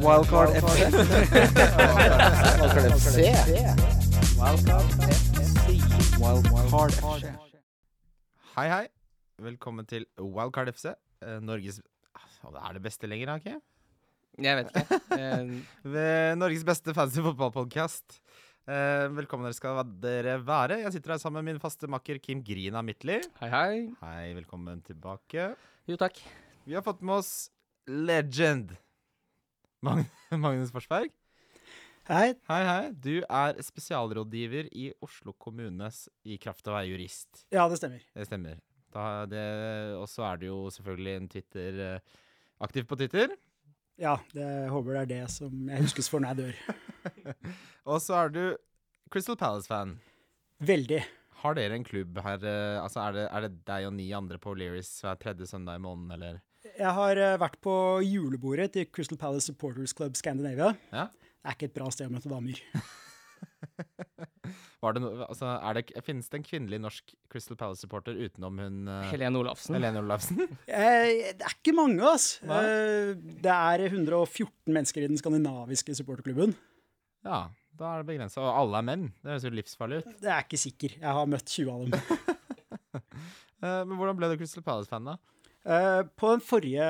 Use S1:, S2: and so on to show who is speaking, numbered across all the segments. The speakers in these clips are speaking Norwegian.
S1: Wildcard FC. Wildcard FC. Wildcard FC.
S2: Hei, hei. Velkommen til Wildcard FC. eh, Norges Å, Det er det beste lenger, har jeg ikke?
S3: Jeg vet ikke. Eh,
S2: Ved Norges beste fancy fotballpodkast. Velkommen dere skal dere være. Jeg sitter her sammen med min faste makker Kim Grina Midtly.
S3: Hei, hei.
S2: Hei, velkommen tilbake.
S3: Jo, takk.
S2: Vi har fått med oss legend Mag Magnus Forsberg.
S4: Hei.
S2: Hei, hei. Du er spesialrådgiver i Oslo kommunes i kraft av å være jurist.
S4: Ja, det stemmer.
S2: Det stemmer. Da er det- Og så er du jo selvfølgelig en Twitter eh, aktiv på Twitter.
S4: Ja, det, jeg håper det er det som jeg huskes for når jeg dør.
S2: Og så er du Crystal Palace-fan.
S4: Veldig.
S2: Har dere en klubb her? eh, Altså, er det, er det deg og ni andre på O'Learys hver tredje søndag i måneden, eller?
S4: Jeg har eh, vært på julebordet til Crystal Palace Supporters Club Scandinavia.
S2: Ja.
S4: Det er ikke et bra sted å møte damer.
S2: Var det no, altså, er det, finnes det en kvinnelig norsk Crystal Palace-supporter utenom hun eh,
S3: Helene Olafsen.
S2: Helene Olafsen?
S4: Eh, Det er ikke mange, ass.
S2: Nei.
S4: Eh, Det er 114 mennesker i den skandinaviske supporterklubben.
S2: ja. Da er det begrensa. Og alle er menn. Det høres jo livsfarlig ut.
S4: Det er ikke sikker. Jeg har møtt 20 av dem.
S2: Eh, men hvordan ble du Crystal Palace-fan, da?
S4: Eh, På den forrige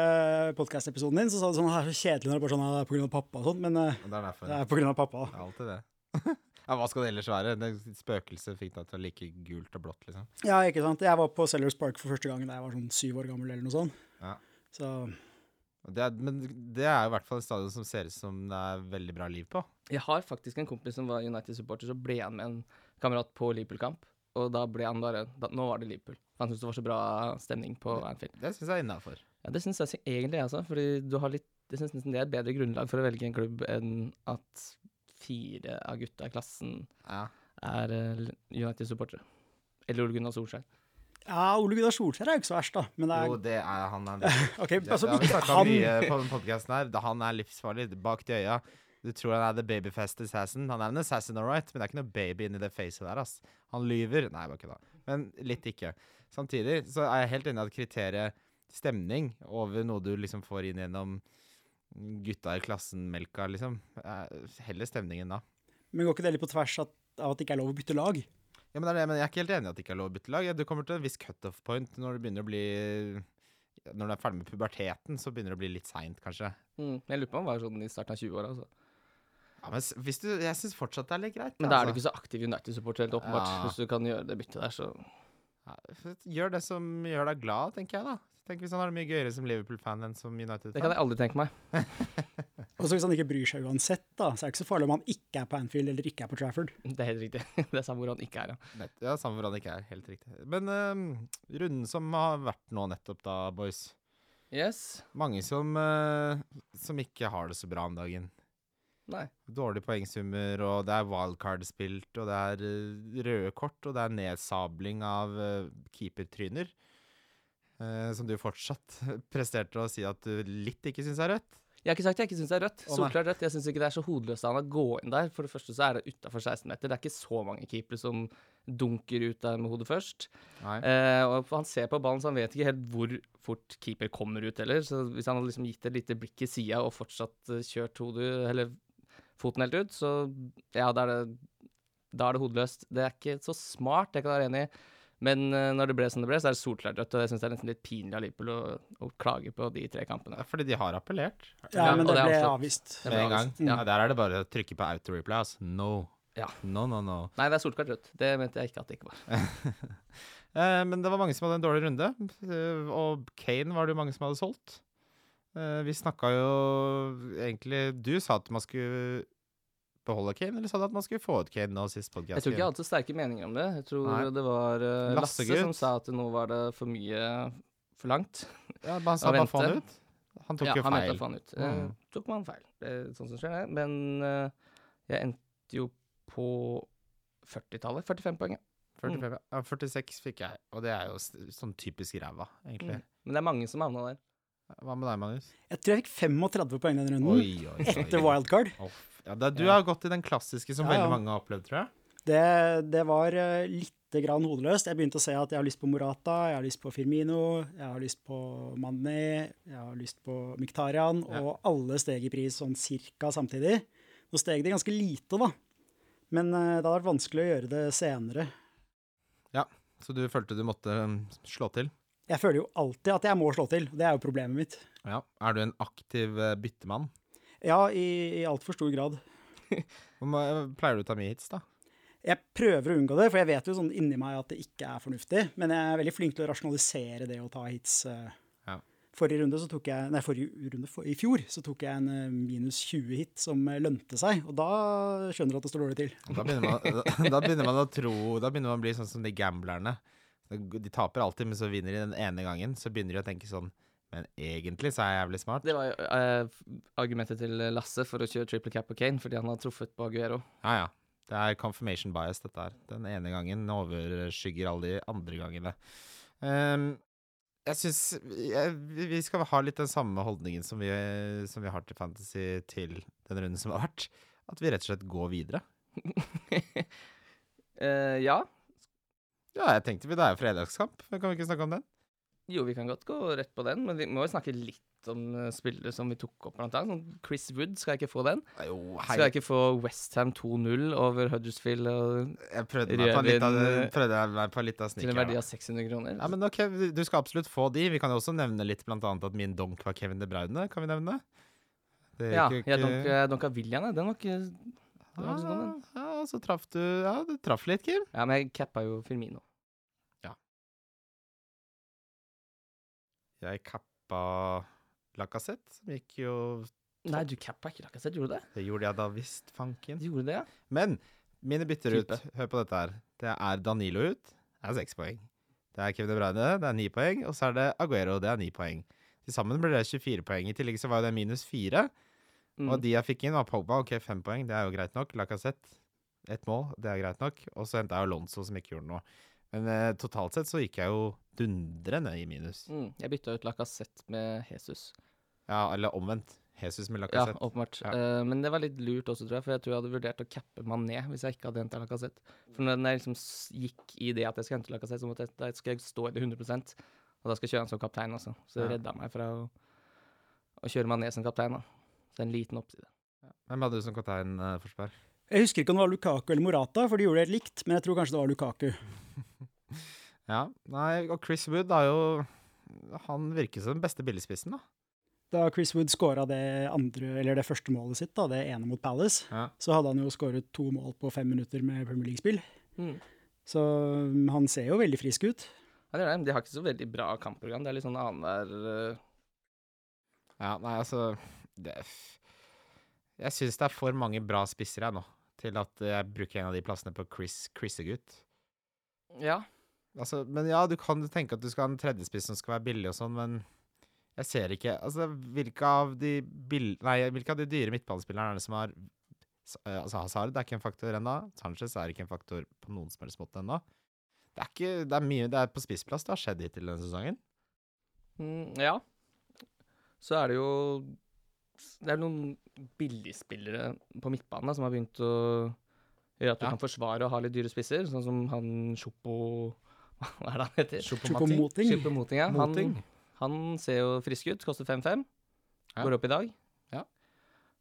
S4: podkast-episoden din så sa du sånn «Ah, så kjedelig når det bare sånn «Ah, det er på grunn av pappa og sånn, men eh,
S2: Det er derfor.
S4: det er på grunn av pappa.
S2: Det er alltid det. ja, hva skal det ellers være? Det spøkelset fikk deg til å like gult og blått, liksom.
S4: Ja, ikke sant. Jeg var på Sellers Park for første gang da jeg var sånn syv år gammel eller noe sånt.
S2: Ja.
S4: Så
S2: Og Det er, men det er jo i hvert fall et stadion som ser ut som det er veldig bra liv på.
S3: Jeg har faktisk en kompis som var United-supporter, så ble han med en kamerat på Liverpool-kamp. Og da ble han bare da, Nå var det Liverpool. Han syntes det var så bra stemning på Anfield.
S2: Det syns jeg er innafor.
S3: Ja, det syns jeg si- egentlig, altså. Fordi du har litt Jeg syns nesten det er et bedre grunnlag for å velge en klubb enn at fire av gutta i klassen
S2: Ja.
S3: er eh, United-supportere. Eller Ole Gunnar Solskjær.
S4: Ja, Ole Gunnar Solskjær er jo ikke så verst, da. Men det er
S2: Jo, det er han. han er,
S4: Ok,
S2: det,
S4: altså,
S2: det har vi snakka
S4: han,
S2: mye på den podkasten her. Da Han er livsfarlig. Bak de øya. Du tror han er the babyfest assassin. Han er en assassin, all right, men det er ikke noe baby inni det facet der, ass. Han lyver. Nei, bare kødda. Men litt ikke. Samtidig så er jeg helt enig i at kriteriet stemning over noe du liksom får inn gjennom gutta i klassen-melka, liksom, er heller stemning enn da.
S4: Men går ikke det litt på tvers at, av at det ikke er lov å bytte lag?
S2: Ja, men, det er det, men Jeg er ikke helt enig i at det ikke er lov å bytte lag. Ja, Du kommer til en viss cutoff point når du begynner å bli Når du er ferdig med puberteten, så begynner det å bli litt seint, kanskje.
S3: Mm. Jeg lurer på om han var sånn i starten av 20-åra. Altså.
S2: Ja, men s- hvis du, Jeg syns fortsatt det er litt greit. altså.
S3: Men da er du ikke så aktiv United-supporter, helt åpenbart.
S2: Ja.
S3: Hvis du kan gjøre det byttet der, så
S2: ikke Gjør det som gjør deg glad, tenker jeg, da. Tenk hvis han har det mye gøyere som Liverpool-fan enn som
S3: Det kan
S2: United-fan.
S3: jeg aldri tenke meg.
S4: Og så Altså, Hvis han ikke bryr seg uansett, da, så er det ikke så farlig om han ikke er på Anfield eller ikke er på Trafford.
S3: Det er helt riktig. Det er samme hvor han ikke er, ja.
S2: Nett- Ja, Samme hvor han ikke er. Helt riktig. Men eh, runden som har vært nå nettopp, da, boys.
S3: Yes.
S2: Mange som, eh, som ikke har det så bra om dagen.
S3: Nei.
S2: Dårlige poengsummer, og det er wildcard spilt, og det er eh, røde kort, og det er nedsabling av eh, keepertryner. eh, som du fortsatt presterte å si at du litt ikke syns er rødt.
S3: Jeg har ikke sagt jeg ikke syns det er rødt.
S2: Å, nei.
S3: Solklart rødt. Jeg syns ikke det er så hodeløst av han å gå inn der. For det første så er det utafor 16 meter. Det er ikke så mange keepere som dunker ut der med hodet først.
S2: Nei.
S3: Eh, og han ser på ballen, så han vet ikke helt hvor fort keeper kommer ut heller. Så hvis han hadde liksom gitt et lite blikk i sida og fortsatt eh, kjørt hodet, eller foten helt ut, så ja, da er det, da er det hodeløst. Det er ikke så smart, det kan jeg være enig i. Men eh, når det ble som det ble, så er det solklart rødt, og jeg syns det er nesten litt pinlig av Liverpool å, å klage på de tre kampene.
S2: Det er Eh, fordi de har appellert
S4: Ja,
S3: Ja,
S4: men
S3: og
S4: det
S3: det er
S4: ble
S3: avslått.
S4: avvist.
S3: Det
S2: med
S3: ble
S2: en gang.
S3: avvist, ja.
S2: Ja, der er det bare å trykke på auto-replay. Altså. No.
S3: Ja.
S2: No, no, no.
S3: Nei, det er solklart rødt. Det mente jeg ikke at det ikke var.
S2: Eh, men det var mange som hadde en dårlig runde, eh, og Kane var det jo mange som hadde solgt. Eh, vi snakka jo egentlig Du sa at man skulle beholde Kane, eller sa du at man skulle få ut Kane nå sist podcast?
S3: Jeg tror ikke jeg hadde så sterke meninger om det. Jeg tror
S2: Nei.
S3: det var eh, Lasse,
S2: Lassegutt.
S3: som sa at nå var det for mye forlangt.
S2: Ja, men han sa
S3: Da
S2: bare
S3: vente.
S2: få han ut. Han tok
S3: ja,
S2: jo
S3: han mente
S2: feil.
S3: å få han ut. Eh,
S2: Mm.
S3: tok man feil. Det er sånn som skjer, det. Men eh, jeg endte jo på 40-tallet. 45 poeng, ja.
S2: 45,
S3: Mm.
S2: ja, 46 fikk jeg, og det er jo s- sånn typisk ræva, egentlig.
S3: Mm. Men det er mange som havna der.
S2: Hva med deg, Magnus?
S4: Jeg tror jeg fikk 35 poeng denne runden,
S2: oi,
S4: Mm. etter wildcard.
S2: Å, f- ja, da, du
S3: Ja.
S2: har gått i den klassiske som
S4: Ja, ja.
S2: veldig mange har opplevd, tror jeg.
S4: Det, det var eh, litt lite grann hodeløst. Jeg begynte å se at jeg har lyst på Morata, jeg har lyst på Firmino, jeg har lyst på Manni, jeg har lyst på Miktarian,
S2: Ja.
S4: og alle steg i pris sånn cirka samtidig. Nå steg det ganske lite, da. Men eh, det hadde vært vanskelig å gjøre det senere.
S2: Så du følte du måtte mm, slå til?
S4: Jeg føler jo alltid at jeg må slå til. Det er jo problemet mitt.
S2: Ja. Er du en aktiv eh, byttemann?
S4: Ja, i, i altfor stor grad.
S2: Hvor ma- Pleier du å ta mye hits, da?
S4: Jeg prøver å unngå det, for jeg vet jo sånn inni meg at det ikke er fornuftig. Men jeg er veldig flink til å rasjonalisere det å ta hits. eh.
S2: Ja.
S4: Forrige runde så tok jeg, nei, forrige runde, for, i fjor så tok jeg en eh, minus 20-hit som eh, lønte seg, og da skjønner du at det står dårlig til.
S2: Og Da begynner, man, da, da begynner man å tro Da begynner man å bli sånn som de gamblerne. De taper alltid, men så vinner de den ene gangen. Så begynner de å tenke sånn Men egentlig så er jeg jævlig smart.
S3: Det var jo eh, argumentet til Lasse for å kjøre triple cap på Kane, fordi han har truffet på Aguero.
S2: Ja ja. Det er confirmation bias, dette her. Den ene gangen overskygger alle de andre gangene. Ehm, jeg syns vi vi skal ha litt den samme holdningen som vi, som vi har til Fantasy til den runden som har vært. At vi rett og slett går videre.
S3: Eh, ja,
S2: Ja, jeg tenkte vi det er jo fredagskamp. Kan vi ikke snakke om den?
S3: jo, vi kan godt gå rett på den, men vi må jo snakke litt om eh, spillere som vi tok opp, blant annet. Sånn Chris Wood, skal jeg ikke få den?
S2: Jo,
S3: Skal jeg ikke få Westham 2-0 over Huddersfield og,
S2: Jeg prøvde meg på en litt av,
S3: Rødvin,
S2: prøvde jeg meg på litt av
S3: eh, til en
S2: sniker.
S3: verdi
S2: da.
S3: av 600 kroner?
S2: Ja, men ok, du- Du skal absolutt få de. Vi kan jo også nevne litt blant annet at min donk var Kevin De Bruyne. Kan vi nevne? Det
S3: ja,
S2: gikk jo
S3: jeg
S2: ikke-
S3: donka, jeg donka William, jeg. Den var ikke den var ikke så dum, den.
S2: Ah, Ja, så traff du Ja, du traff litt, Kim.
S3: Ja, men jeg cappa jo Firmino.
S2: Jeg kappa Lacassette, som gikk jo
S3: Nei, du cappa ikke Lacassette, gjorde du det?
S2: Det gjorde jeg da visst, fanken.
S3: Du gjorde det, ja.
S2: Men mine bytter ut.
S3: Type.
S2: Hør på dette her. Det er Danilo ut. Det er seks poeng. Det er Kevin De Bruyne. Det er ni poeng. Og så er det Aguero. Det er ni poeng. Til sammen blir det 24 poeng. I tillegg så var jo det minus fire.
S3: Mm.
S2: Og de jeg fikk inn, var Pogba. Ok, fem poeng, det er jo greit nok. Lacassette, ett mål, det er greit nok. Og så henta jeg Alonso, som ikke gjorde noe. Men eh, totalt sett så gikk jeg jo dundrende i minus.
S3: Mm. Jeg bytta ut Lacassette med Jesus.
S2: Ja, eller omvendt. Jesus med
S3: Ja,
S2: Lacassette.
S3: åpenbart.
S2: Ja.
S3: Eh, men det var litt lurt også, tror jeg, for jeg tror jeg hadde vurdert å cappe Mané hvis jeg ikke hadde henta Lacassette. For når jeg liksom s- gikk i det at jeg skal hente Lacassette, så måtte jeg, da skal jeg stå i det 100 og da skal jeg kjøre han som kaptein også. Så det
S2: Ja.
S3: redda meg fra å, å kjøre Mané som kaptein, da. Så en liten oppside.
S2: Hvem hadde du som kaptein, uh, Forsberg?
S4: Jeg husker ikke om det var Lukaku eller Morata, for de gjorde det helt likt, men jeg tror kanskje det var Lukaku.
S2: Ja, nei, og Chris Wood har jo Han virker som den beste billigspissen, da.
S4: Da Chris Wood skåra det, andre- eller det første målet sitt, da, det ene mot Palace,
S2: Ja.
S4: så hadde han jo skåret to mål på fem minutter med Premier League-spill.
S3: Mm.
S4: Så mm, han ser jo veldig frisk ut.
S3: Ja, det er det. men De har ikke så veldig bra kampprogram. Det er litt sånn annenhver eh,
S2: Ja, nei, altså det, Jeg syns det er for mange bra spisser her nå, til at jeg bruker en av de plassene på Chris Chrissegutt.
S3: Ja.
S2: Altså, men ja, du kan jo tenke at du skal ha en tredjespiss som skal være billig og sånn, men jeg ser ikke Altså, hvilke av de bill... Nei, hvilke av de dyre midtbanespillerne er det som har S- eh, Altså, Hazard er ikke en faktor ennå. Sanchez er ikke en faktor på noen som helst måte ennå. Det er ikke Det er mye Det er på spissplass det har skjedd hittil denne sesongen.
S3: Mm, ja. Så er det jo Det er noen billigspillere på midtbanen da, som har begynt å gjøre at du
S2: Ja.
S3: kan forsvare og ha litt dyre spisser, sånn som han Sjopo Hva er det han heter?
S2: Choupo-Moting.
S4: Choupo-Moting.
S3: Sjopo Moting, ja. Han,
S2: Moting.
S3: han ser jo frisk ut. Koster 5-5.
S2: Ja.
S3: Går opp i dag.
S2: Ja.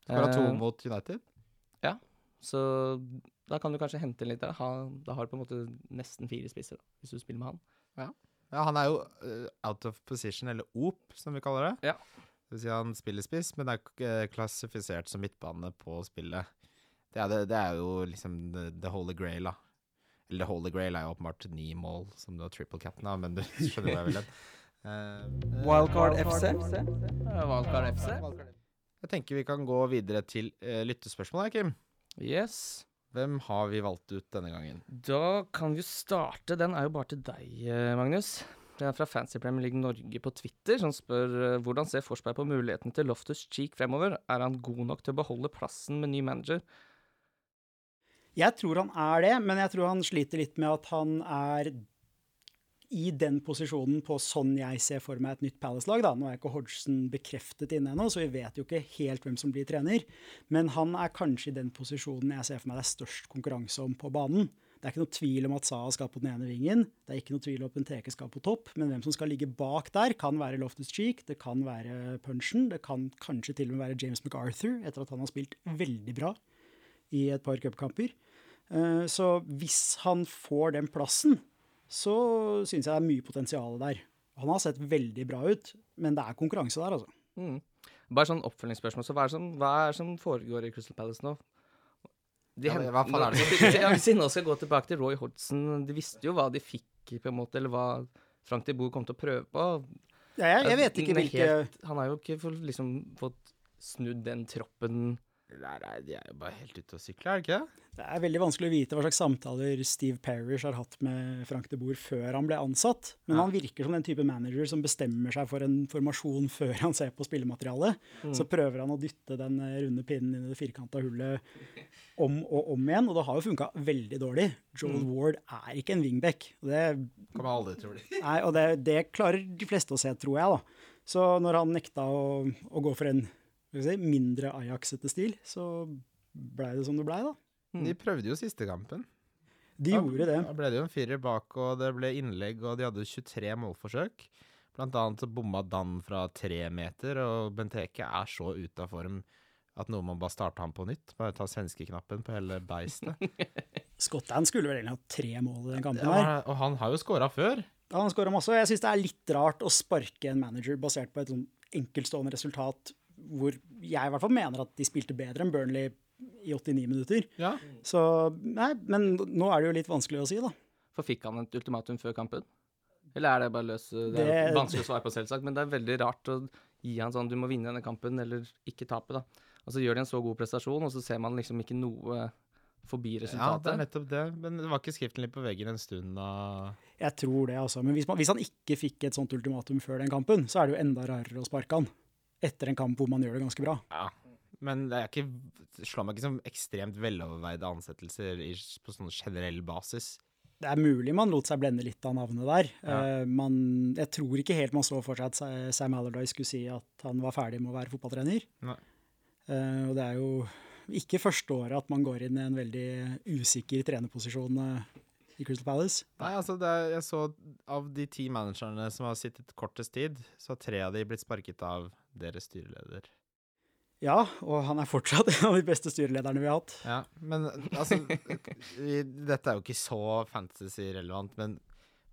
S2: Skåra to
S3: Eh,
S2: mot United.
S3: så da kan du kanskje hente litt der. Ha, da har du på en måte nesten fire spisser, da, hvis du spiller med han.
S2: Ja, han er jo eh, out of position, eller OP, som vi kaller det.
S3: Ja.
S2: Det vil si han spiller spiss, men er k- eh, klassifisert som midtbane på spillet. Det er, det, det er jo liksom the, the holy grail, da. Eller the holy grail er jo åpenbart ni mål, som du har triple cap'n av, men du skjønner hva jeg vil hen. Eh,
S1: Wildcard FC.
S3: Valkar FC.
S2: jeg tenker vi kan gå videre til uh, lyttespørsmålet, Kim.
S3: Yes.
S2: Hvem har vi valgt ut denne gangen?
S3: Da kan vi jo starte. Den er jo bare til deg, eh, Magnus. Den er fra Fancy Premier League Norge på Twitter, som spør eh, hvordan ser Forsberg på mulighetene til Loftus Cheek fremover? Er han god nok til å beholde plassen med ny manager?
S4: Jeg tror han er det, men jeg tror han sliter litt med at han er i den posisjonen på sånn jeg ser for meg et nytt Palace-lag. da. Nå er ikke Hodgson bekreftet inne ennå, så vi vet jo ikke helt hvem som blir trener. Men han er kanskje i den posisjonen jeg ser for meg det er størst konkurranse om på banen. Det er ikke noe tvil om at Saha skal på den ene vingen. Det er ikke noe tvil om at Benteke skal på topp. Men hvem som skal ligge bak der, kan være Loftus Cheek, det kan være Punchen, det kan kanskje til og med være James McArthur, etter at han har spilt veldig bra i et par cupkamper. Eh, Så hvis han får den plassen, så syns jeg det er mye potensial der. Han har sett veldig bra ut, men det er konkurranse der, altså.
S3: Mm. Bare sånn oppfølgingsspørsmål. Så hva er, det som, hva er det som foregår i Crystal Palace nå? De
S2: Ja,
S3: hent-
S2: hva faen er
S3: Ja, Hvis vi nå skal gå tilbake til Roy Hodgson De visste jo hva de fikk, på en måte, eller hva Frank de Boe kom til å prøve på.
S4: Ja, jeg, jeg vet ikke
S3: Tingene er
S4: hvilke
S3: helt- Han har jo ikke få- liksom fått snudd den troppen
S2: Nei, nei, de er jo bare helt ute og sykler, er det ikke det?
S4: Det er veldig vanskelig å vite hva slags samtaler Steve Parrish har hatt med Frank de Boer før han ble ansatt, men
S2: Ja.
S4: han virker som den type manager som bestemmer seg for en formasjon før han ser på spillematerialet.
S3: Mm.
S4: Så prøver han å dytte den eh, runde pinnen inn i det firkanta hullet om og om igjen, og det har jo funka veldig dårlig. Joel
S3: Mm.
S4: Ward er ikke en wingback. og Det,
S2: Kommer jeg aldri til å bli.
S4: nei, og det, det klarer de fleste å se, tror jeg, da. Så når han nekta å, å gå for en skal vi si, mindre Ajax-ete stil, så blei det som det blei, da.
S2: De prøvde jo siste kampen.
S4: De gjorde det.
S2: Da ble det jo en firer bak, og det ble innlegg, og de hadde 23 målforsøk. Blant annet så bomma Dan fra tre meter, og Benteke er så ute av form at noen må bare starte ham på nytt. Bare ta svenskeknappen på hele beistet.
S4: Scotland skulle vel egentlig hatt tre mål i den kampen.
S2: Ja,
S4: her.
S2: og han har jo scora før.
S4: Ja, han skåra masse. og Jeg syns det er litt rart å sparke en manager basert på et sånn enkeltstående resultat hvor jeg i hvert fall mener at de spilte bedre enn Burnley i 89 minutter.
S2: Ja.
S4: Så nei, men nå er det jo litt vanskelig å si, da.
S3: For fikk han et ultimatum før kampen? Eller er det bare løs Det er
S4: Det-
S3: vanskelig å svare på, selvsagt, men det er veldig rart å gi han sånn Du må vinne denne kampen, eller ikke tape, da. Og så gjør de en så god prestasjon, og så ser man liksom ikke noe forbi
S2: ja, det er
S3: resultatet.
S2: nettopp det. Men det var ikke skriften litt på veggen en stund da
S4: Jeg tror det, altså. Men hvis, man, hvis han ikke fikk et sånt ultimatum før den kampen, så er det jo enda rarere å sparke han. Etter en kamp hvor man gjør det ganske bra.
S2: Ja. Men det er ikke, det slår meg ikke som ekstremt veloverveide ansettelser i, på sånn generell basis.
S4: Det er mulig man lot seg blende litt av navnet der.
S2: Ja.
S4: Eh, man, jeg tror ikke helt man så for seg at Sa- Sam Allardyce skulle si at han var ferdig med å være fotballtrener.
S2: Nei.
S4: Eh, og det er jo ikke første året at man går inn i en veldig usikker trenerposisjon eh, i Crystal Palace.
S2: Nei, altså, det er, jeg så av de ti managerne som har sittet kortest tid, så har tre av de blitt sparket av deres styreleder.
S4: Ja, og han er fortsatt en av de beste styrelederne vi har hatt.
S2: Ja, men altså vi, Dette er jo ikke så fantasy-relevant, men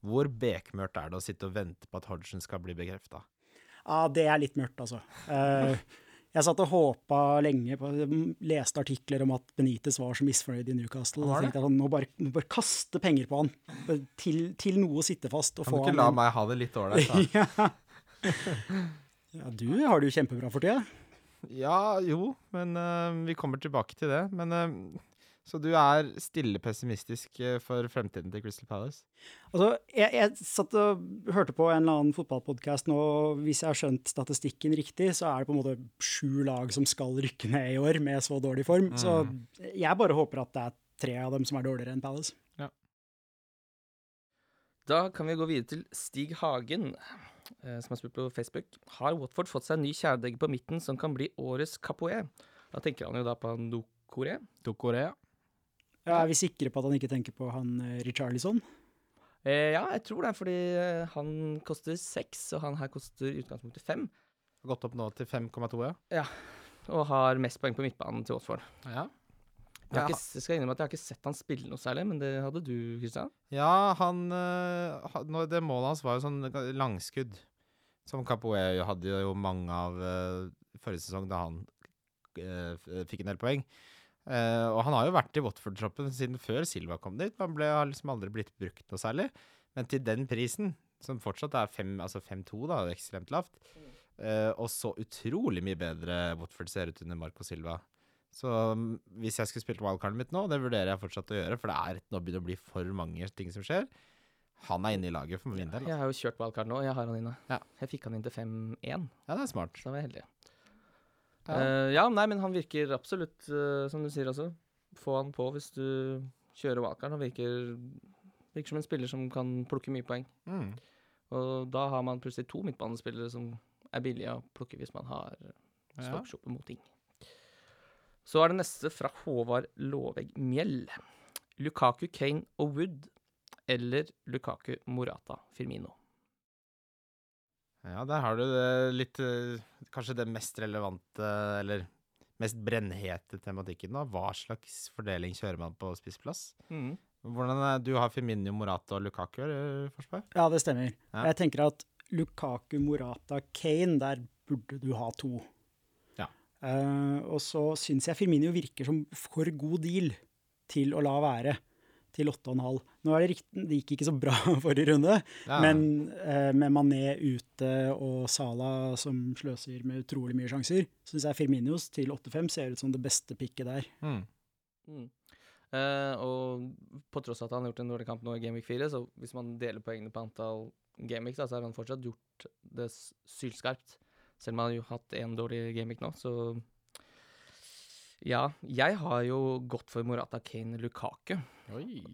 S2: hvor bekmørkt er det å sitte og vente på at Hodgson skal bli bekrefta?
S4: Ja, det er litt mørkt, altså. Eh, jeg satt og håpa lenge på Leste artikler om at Benitez var så misfornøyd i Newcastle. Da
S2: var det.
S4: tenkte jeg sånn, nå bare, nå bare kaste penger på han. Bare Til, til noe sitter fast. Og
S2: Kan du
S4: få
S2: ikke
S4: han
S2: la
S4: inn.
S2: meg altså. ha det litt ålreit, da?
S4: ja. ja, du har det jo kjempebra for tida.
S2: Ja, jo, men eh, vi kommer tilbake til det. Men eh, Så du er stille pessimistisk eh, for fremtiden til Crystal Palace?
S4: Altså, jeg, jeg satt og hørte på en eller annen fotballpodkast nå. og Hvis jeg har skjønt statistikken riktig, så er det på en måte sju lag som skal rykke ned i år med så dårlig form.
S2: Mm.
S4: Så jeg bare håper at det er tre av dem som er dårligere enn Palace.
S3: Da kan vi gå videre til Stig Hagen, eh, som har spurt på Facebook. Har Watford fått seg en ny kjæledegge på midten som kan bli årets Capoe? Da tenker han jo da på Nokore.
S2: To Korea?
S4: Ja, er vi sikre på at han ikke tenker på han eh, Richarlison?
S3: Eh, ja, jeg tror det er fordi eh, han koster seks, og han her koster i utgangspunktet fem.
S2: Har Gått opp nå til 5,2, ja.
S3: og har mest poeng på midtbanen til Watford.
S2: ja.
S3: Jeg, har
S2: Ja.
S3: ikke, jeg skal innrømme at jeg har ikke sett han spille noe særlig, men det hadde du, Kristian.
S2: Ja, han eh, ha- nå- Det målet hans var jo sånn langskudd. Som Capoe hadde jo mange av eh, forrige sesong, da han eh, f- fikk en del poeng. Eh, og han har jo vært i Watford-troppen siden før Silva kom dit. men Han ble, har liksom aldri blitt brukt noe særlig. Men til den prisen, som fortsatt er fem- altså 5-2, da, ekstremt lavt, eh, og så utrolig mye bedre Watford ser ut under Marco Silva. Så mm, hvis jeg skulle spilt wildcardet mitt nå, det vurderer jeg fortsatt å gjøre, for det er nå begynner det å bli for mange ting som skjer. Han er inne i laget for min del.
S3: Jeg
S2: Altså.
S3: har jo kjørt wildcard nå, og jeg har han inne.
S2: Ja.
S3: Jeg fikk han inn til 5-1,
S2: Ja, det er smart.
S3: så da var jeg heldig.
S2: Ja.
S3: Ja. ja, nei, men han virker absolutt, eh, som du sier også. Få han på hvis du kjører wildcard. Han virker, virker som en spiller som kan plukke mye poeng.
S2: Mm.
S3: Og da har man plutselig to midtbanespillere som er billige å plukke hvis man har
S2: Ja.
S3: stokkshopper mot ting. Så er det neste fra Håvard Lovegg Mjell. Lukaku, Kane og Wood eller Lukaku, Morata, Firmino?
S2: Ja, der har du det litt eh, Kanskje det mest relevante, eller mest brennhete tematikken, da. Hva slags fordeling kjører man på spissplass? Hvordan er, Du har Firmino, Morata og Lukaku, eller, Forsberg?
S4: Ja, det stemmer.
S2: Ja.
S4: Jeg tenker at Lukaku, Morata, Kane, der burde du ha to.
S2: Ja.
S4: Eh, og så syns jeg Firmino virker som for god deal til å la være til 8,5. Nå er det rikt, det gikk ikke så bra forrige runde,
S2: Ja.
S4: men eh, med Mané ute og Salah som sløser med utrolig mye sjanser, syns jeg Firminos til 8,5 ser ut som det beste picket der.
S2: mm.
S3: Mm. Eh, og på tross av at han har gjort en dårlig kamp nå i Gameweek 4, så hvis man deler poengene på antall gameweeks, da, så har han fortsatt gjort det s- sylskarpt. Selv om han har jo hatt én dårlig gameweek nå, så Ja. Jeg har jo gått for Morata Kane Lukaku,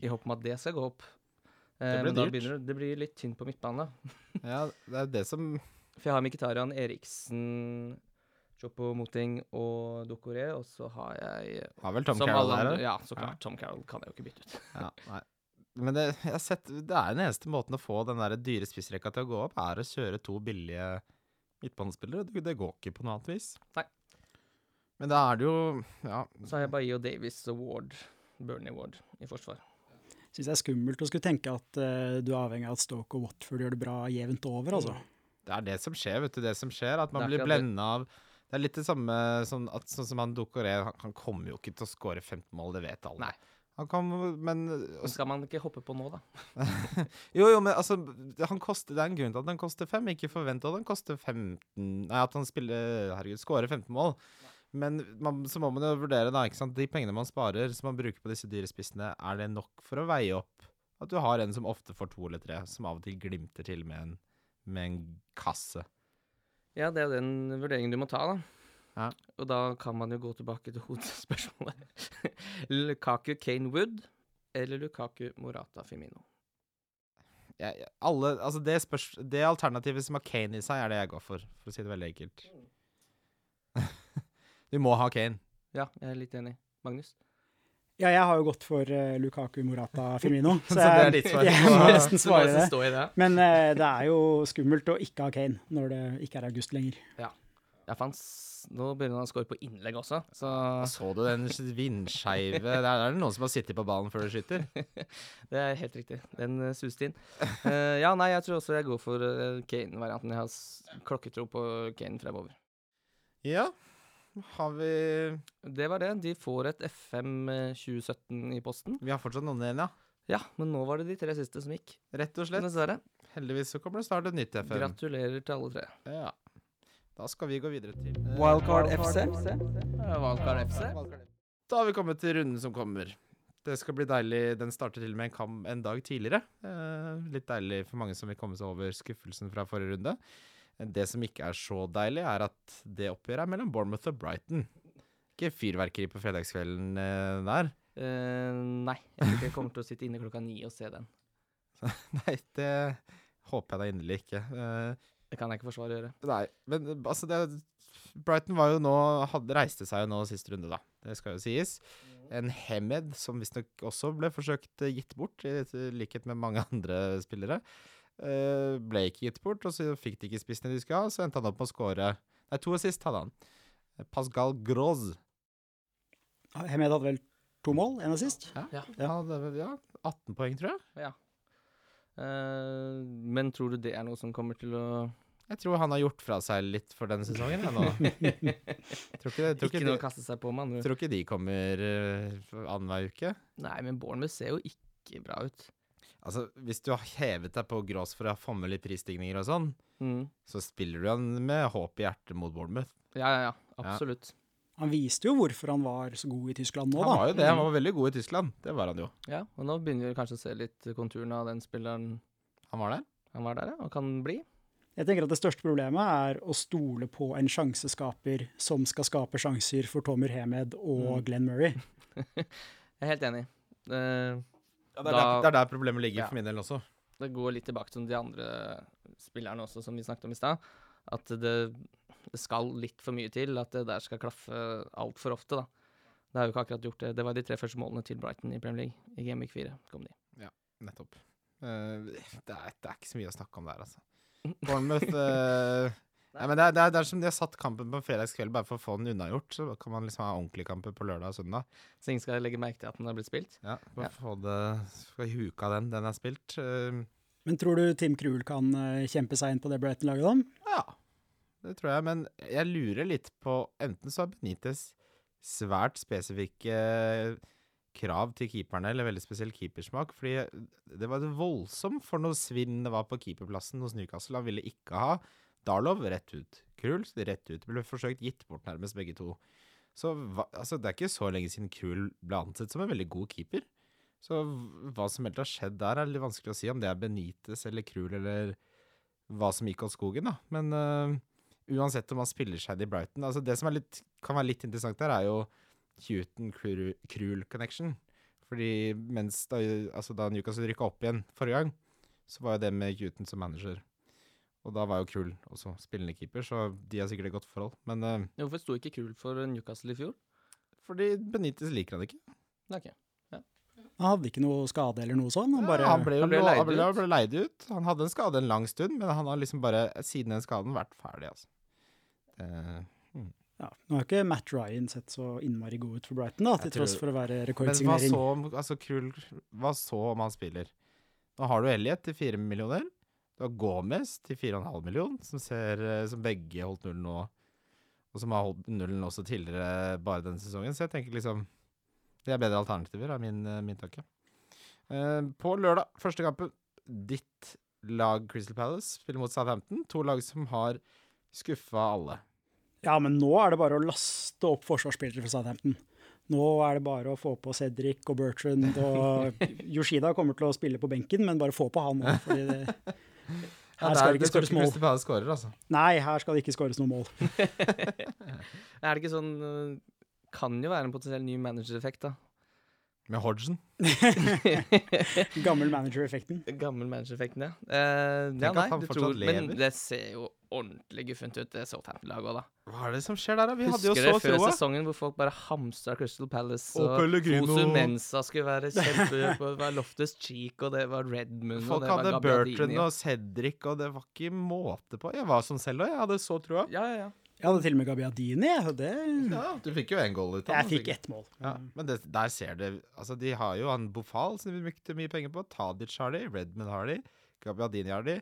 S3: i håp om at det skal gå opp. Eh,
S2: Det blir
S3: men da
S2: dyrt.
S3: begynner det, det blir litt tynt på midtbanen, da.
S2: Ja, det er det som
S3: For jeg har Mkhitaryan, Eriksen, Chopo Moting og Dokore, og så har jeg
S2: Har vel Tom
S3: som
S2: Carroll
S3: alle
S2: der,
S3: andre-
S2: eller?
S3: Ja, så
S2: Ja.
S3: klart. Tom Carroll kan jeg jo ikke bytte ut.
S2: Ja, nei. Men det, jeg har sett, det er den eneste måten å få den der dyre spissrekka til å gå opp, er å kjøre to billige midtbanespillere. Det, det går ikke på noe annet vis.
S3: Nei.
S2: Men da er det jo Ja.
S3: Så har jeg Bailly og Davis og Ward, Bernie Ward, i forsvar.
S4: Syns jeg er skummelt å skulle tenke at eh, du er avhengig av at Stoke og Watford gjør det bra jevnt over, altså.
S2: Det er det som skjer, vet du. Det som skjer, at man
S3: Det er
S2: blir
S3: akkurat det.
S2: blenda av Det er litt det samme som at, sånn som han Dokore. Han, han kommer jo ikke til å skåre 15 mål, det vet alle.
S3: Nei.
S2: Han kan, men
S3: Og skal man ikke hoppe på nå, da?
S2: Jo, jo, men altså han koster, Det er en grunn til at han koster fem. Ikke forvent at han koster 15 Nei, at han spiller Herregud, skårer 15 mål. Men man, så må man jo vurdere, da. ikke sant? De pengene man sparer, som man bruker på disse dyrespissene, er det nok for å veie opp at du har en som ofte får to eller tre, som av og til glimter til med en, med en kasse?
S3: Ja, det er jo den vurderingen du må ta, da.
S2: Ja.
S3: Og da kan man jo gå tilbake til hovedspørsmålet. Lukaku Kane Wood eller Lukaku Morata Firmino?
S2: jeg, jeg- alle, altså det, spørs, det alternativet som har Kane i seg, er det jeg går for, for å si det veldig enkelt. du må ha Kane.
S3: Ja, jeg er litt enig. Magnus?
S4: Ja, jeg har jo gått for eh, Lukaku Morata Firmino,
S2: Så
S4: så,
S2: det er
S4: jeg,
S2: ditt svar.
S4: jeg må nesten
S3: Så la
S4: svare
S3: oss
S4: det.
S3: stå i det.
S4: Men eh, det er jo skummelt å ikke ha Kane når det ikke er august lenger.
S3: Ja, for han s- nå begynner han å score på innlegg også, så
S2: Så du den vindskeive Der er det noen som har sittet på ballen før du skyter.
S3: det er helt riktig. Den eh, suste inn. Eh, ja, nei, jeg tror også jeg går for eh, Kane-varianten. Jeg har s- klokketro på Kane fremover.
S2: Ja. Har vi
S3: Det var det. De får et FM eh, 2017 i posten.
S2: Vi har fortsatt noen igjen, ja.
S3: Ja, men nå var det de tre siste som gikk.
S2: Rett og slett.
S3: Dessverre.
S2: Heldigvis så kommer det snart et nytt FM.
S3: Gratulerer til alle tre.
S2: Ja. Da skal vi gå videre til eh,
S1: Wildcard FC.
S3: Valgkar FC.
S2: Da har vi kommet til runden som kommer. Det skal bli deilig. Den starter til og med en, kam en dag tidligere. Eh, litt deilig for mange som vil komme seg over skuffelsen fra forrige runde. Det som ikke er så deilig, er at det oppgjøret er mellom Bournemouth og Brighton. Ikke fyrverkeri på fredagskvelden eh, der.
S3: Eh, nei, jeg tror ikke jeg kommer til å sitte inne klokka ni og se den.
S2: Nei, det håper jeg da inderlig ikke. Eh,
S3: Det kan jeg ikke forsvare å gjøre.
S2: Nei, men eh, altså det, Brighton var jo nå hadde, Reiste seg jo nå siste runde, da. Det skal jo sies.
S3: Mm.
S2: En Hemed som visstnok også ble forsøkt eh, gitt bort, i i likhet med mange andre spillere. eh, ble ikke gitt bort, og så fikk de ikke spissen de skulle ha. Så endte han opp med å skåre Nei, to assist hadde han. Pascal Groz.
S4: Hemed hadde vel to mål, en assist.
S3: Ja.
S2: Ja, det, ja 18 poeng, tror jeg.
S3: Eh, men tror du det er noe som kommer til å
S2: Jeg tror han har gjort fra seg litt for denne sesongen. Jeg, nå. tror ikke, det,
S3: Ikke
S2: tror ikke,
S3: noe å
S2: de,
S3: kaste seg på, med andre ord.
S2: tror ikke de kommer uh, annenhver uke.
S3: Nei, men Bournemouth ser jo ikke bra ut.
S2: Altså, hvis du har hevet deg på Grås for å få med litt prisstigninger og sånn,
S3: Mm.
S2: så spiller du han med håp i hjertet mot Bournemouth.
S3: Ja, ja, ja. Absolutt.
S4: Han viste jo hvorfor han var så god i Tyskland nå,
S2: Han
S4: da.
S2: var jo det, han var veldig god i Tyskland. Det var han jo.
S3: Ja, Og nå begynner vi kanskje å se litt konturene av den spilleren
S2: Han var der.
S3: han var der, ja, og kan bli.
S4: Jeg tenker at Det største problemet er å stole på en sjanseskaper som skal skape sjanser for Tommy Hemed og Glenn Murray.
S3: Jeg er helt enig. Eh,
S2: det, er der,
S3: Da-
S2: det er der problemet ligger
S3: Ja.
S2: for min del også.
S3: det går litt tilbake til de andre spillerne også, som vi snakket om i stad. At det, det skal litt for mye til. At det der skal klaffe altfor ofte, da. Det har jo ikke akkurat gjort det. Det var de tre første målene til Brighton i Premier League. I Game Week 4 kom de.
S2: Nettopp. Eh, det, er, det er ikke så mye å snakke om der, altså. Bournemouth eh, Nei, men det er, det, er, det er som de har satt kampen på en fredagskveld bare for å få den unnagjort. Så kan man liksom ha ordentlige kamper på lørdag og søndag.
S3: Så ingen skal legge merke til at den har blitt spilt.
S2: Ja, for
S3: Ja.
S2: å få det Skal huke av den den er spilt. Eh,
S4: Men tror du Tim Krul kan eh, kjempe seg inn på det Brighton-laget, da?
S2: ja, det tror jeg. Men jeg lurer litt på Enten så har Benitez svært spesifikke eh, krav til keeperne, eller veldig spesiell keepersmak. Fordi det var voldsomt for noe svinn det var på keeperplassen hos Newcastle. Han ville ikke ha Darlov rett ut. Krul rett ut. Ble forsøkt gitt bort nærmest begge to. Så hva, altså, det er ikke så lenge siden Krul ble ansett som en veldig god keeper. Så hva som helt har skjedd der, er litt vanskelig å si. Om det er Benitez eller Krul eller hva som gikk av skogen, da. Men øh, uansett om han spiller seg i Brighton altså Det som er litt, kan være litt interessant der, er jo Huton-Krul-connection. Fordi mens da, altså da Newcastle rykka opp igjen forrige gang, så var jo det med Huton som manager. Og da var jo Krul også spillende keeper, så de har sikkert et godt forhold. Men øh,
S3: Jo, Hvorfor sto ikke Krul for Newcastle i fjor?
S2: fordi Benitez liker han ikke.
S3: Nei, ok.
S4: Han hadde ikke noe skade eller noe sånt? Han
S2: Ja,
S4: bare
S2: han ble jo
S3: Han ble
S2: lo-
S3: leid
S2: han ble,
S3: ut.
S2: ble leid ut. Han hadde en skade en lang stund, men han har liksom bare siden den skaden vært ferdig, altså. Eh,
S4: ja, Nå har ikke Matt Ryan sett så innmari god ut for Brighton, da, til
S2: Jeg tror-
S4: tross for å være
S2: men hva
S4: rekordsignering.
S2: så, om, altså, Krul, hva så om han spiller? Nå har du Elliot til fire millioner. Du har Gomez til fire og en halv million, som, ser, eh, som begge holdt nullen nå. Og som har holdt nullen også tidligere bare denne sesongen. Så jeg tenker liksom Det er bedre alternativer, er min, eh, min tanke. Eh, på lørdag, første kampen, ditt lag Crystal Palace spiller mot Southampton. To lag som har skuffa alle.
S4: Ja, men nå er det bare å laste opp forsvarsspillere fra Southampton. Nå er det bare å få på Cedric og Bertrand og Yoshida kommer til å spille på benken, men bare få på han òg, fordi det Her skal det ikke skåres mål.
S2: Crystal Palace skårer, altså.
S4: Nei, her skal det ikke skåres noe mål.
S3: Er det ikke sånn øh, Kan jo være en potensiell ny managereffekt, da.
S2: Med Hodgson.
S4: Gammel manager-effekten.
S3: Gammel managereffekten, ja. Eh, ja
S2: Tenk at
S3: nei,
S2: han
S3: du
S2: fortsatt
S3: tror, men
S2: lever.
S3: det ser jo ordentlig guffent ut, det Southampton-laget òg, da.
S2: Hva er det som skjer der, da? Vi hadde jo
S3: Husker
S2: så
S3: dere før
S2: troa.
S3: sesongen hvor folk bare hamstra Crystal Palace?
S2: Og Pellegrino.
S3: Fosu Mensa skulle være kjempe på, det var Loftus Cheek, og det var Redmond og
S2: Folk
S3: det var
S2: hadde
S3: Gabbiadini,
S2: Bertrand og Cedric, og det var ikke måte på. Jeg var som selv òg, jeg hadde så trua.
S3: Ja, ja, ja.
S4: Jeg hadde til og med Gabiadini. jeg. Det,
S2: Ja, du fikk jo én goal ut
S4: jeg
S2: av
S4: fikk
S2: sikkert.
S4: ett mål. Mm.
S2: Ja, men det, der ser du Altså, de har jo han Bofal, som de brukte mye penger på. Tadic har de, Redman har de, Gabiadini har de.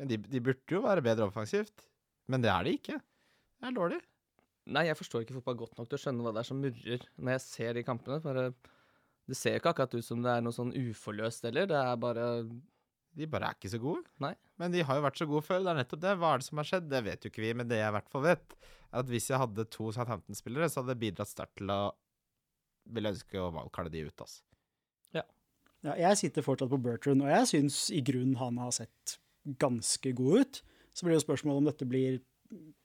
S2: Men de, de burde jo være bedre offensivt. Men det er de ikke. Det er dårlig.
S3: Nei, jeg forstår ikke fotball godt nok til å skjønne hva det er som murrer når jeg ser de kampene. Bare, det ser jo ikke akkurat ut som det er noe sånn uforløst heller. Det er bare
S2: De bare er ikke så gode.
S3: Nei.
S2: Men de har jo vært så gode før. Det er nettopp det. Hva er det som har skjedd? Det vet jo ikke vi, men det jeg i hvert fall vet, er at hvis jeg hadde to Southampton-spillere, så hadde det bidratt sterkt til å Ville ønske å valgkalle de ut, altså.
S4: Ja, jeg sitter fortsatt på Bertrand, og jeg syns i grunnen han har sett ganske god ut. Så blir det jo spørsmålet om dette blir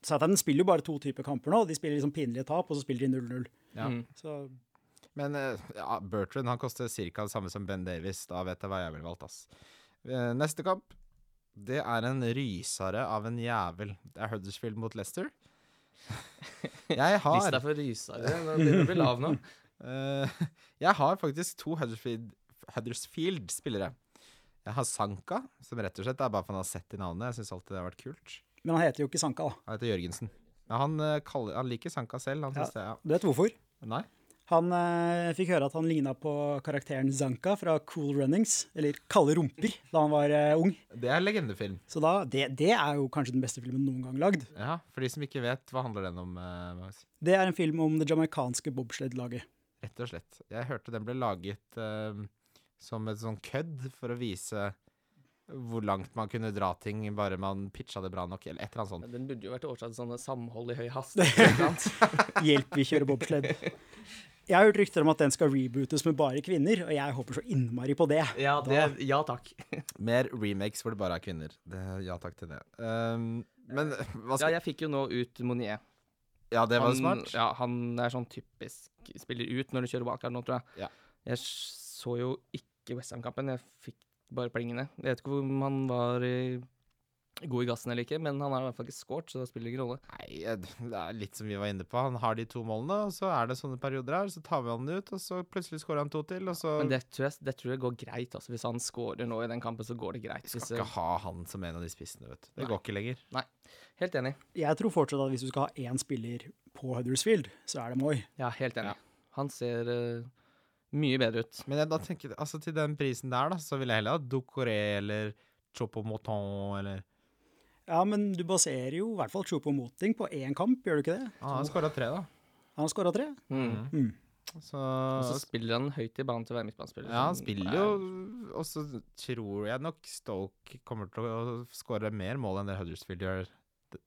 S4: Southampton spiller jo bare to typer kamper nå. De spiller liksom pinlige tap, og så spiller de 0-0.
S2: Ja.
S3: mm.
S4: Så
S2: Men eh, ja, Bertrand han koster ca. det samme som Ben Davis. Da vet jeg hva jeg ville valgt, ass. Eh, Neste kamp, det er en rysare av en jævel. Det er Huddersfield mot Leicester. Jeg har
S3: Lista for rysere. Nå begynner det å bli lav nå.
S2: eh, Jeg har faktisk to Huddersfield- Huddersfield-spillere. Jeg har Sanka, som rett og slett er bare for han har sett i navnet. Jeg syns alltid det har vært kult.
S4: Men han heter jo ikke Sanka, da.
S2: Han heter Jørgensen. Ja, han, eh, kaller, han liker Sanka selv. Han synes det,
S4: Du vet hvorfor?
S2: ja. Nei?
S4: Han eh, fikk høre at han ligna på karakteren Zanka fra Cool Runnings, eller Kalde rumper, da han var eh, ung.
S2: Det er legendefilm.
S4: Så da, det, det er jo kanskje den beste filmen noen gang lagd.
S2: Ja, For de som ikke vet, hva handler den om? eh, Magnus?
S4: Det er en film om det jamaicanske bobsled-laget.
S2: Rett og slett. Jeg hørte den ble laget eh, som et sånn kødd for å vise hvor langt man kunne dra ting bare man pitcha det bra nok, eller et eller annet sånt.
S3: Den burde jo vært årsak til sånne samhold i høy hastighet. ikke sant?
S4: Hjelp, vi kjører bobsled. Jeg har hørt rykter om at den skal rebootes med bare kvinner, og jeg håper så innmari på det.
S3: Ja, det, ja takk.
S2: Mer remakes hvor det bare er kvinner. Det, ja takk til det. Um, men hva
S3: Ja,
S2: skal
S3: jeg fikk jo nå ut Monier.
S2: Ja, Altså- det var jo
S3: Han-
S2: smart.
S3: Ja, han er sånn typisk spiller ut når du kjører wildcard nå, tror jeg.
S2: Ja.
S3: Jeg s- så jo ikke Westham-kampen, jeg fikk bare plingene. Jeg vet ikke om han var i god i gassen eller ikke, men han har i hvert fall ikke scoret, så det spiller ingen rolle.
S2: Nei, eh, det er litt som vi var inne på. Han har de to målene, og så er det sånne perioder her. Så tar vi han ut, og så plutselig skårer han to til, og så
S3: Men det tror, jeg, det tror jeg går greit. altså. Hvis han scorer nå i den kampen, så går det greit.
S2: skal
S3: Hvis,
S2: ikke ha han som en av de spissene, vet du. Det
S3: Nei.
S2: går ikke lenger.
S3: eh, helt enig.
S4: Jeg tror fortsatt at hvis du skal ha én spiller på Huddersfield, så er det Moi.
S3: Ja, helt enig. Han ser eh, mye bedre ut.
S2: Men jeg, da tenker jeg- altså til den prisen der, da, så ville jeg heller ha Doucouré eller Chopomoton eller
S4: Ja, men du baserer jo i hvert fall Chopo Moting på én kamp, gjør du ikke det?
S2: ah, Han skåra tre, da.
S4: Han har skåra tre.
S3: Mm.
S2: Så,
S3: Og så spiller han høyt i banen til å være midtbanespiller. Sånn,
S2: Ah,
S3: eh,
S2: Ja, han
S3: som
S2: spiller
S3: Mm, er-
S2: jo Og så tror jeg nok Stoke kommer til å skåre mer mål enn det Huddersfield gjør d-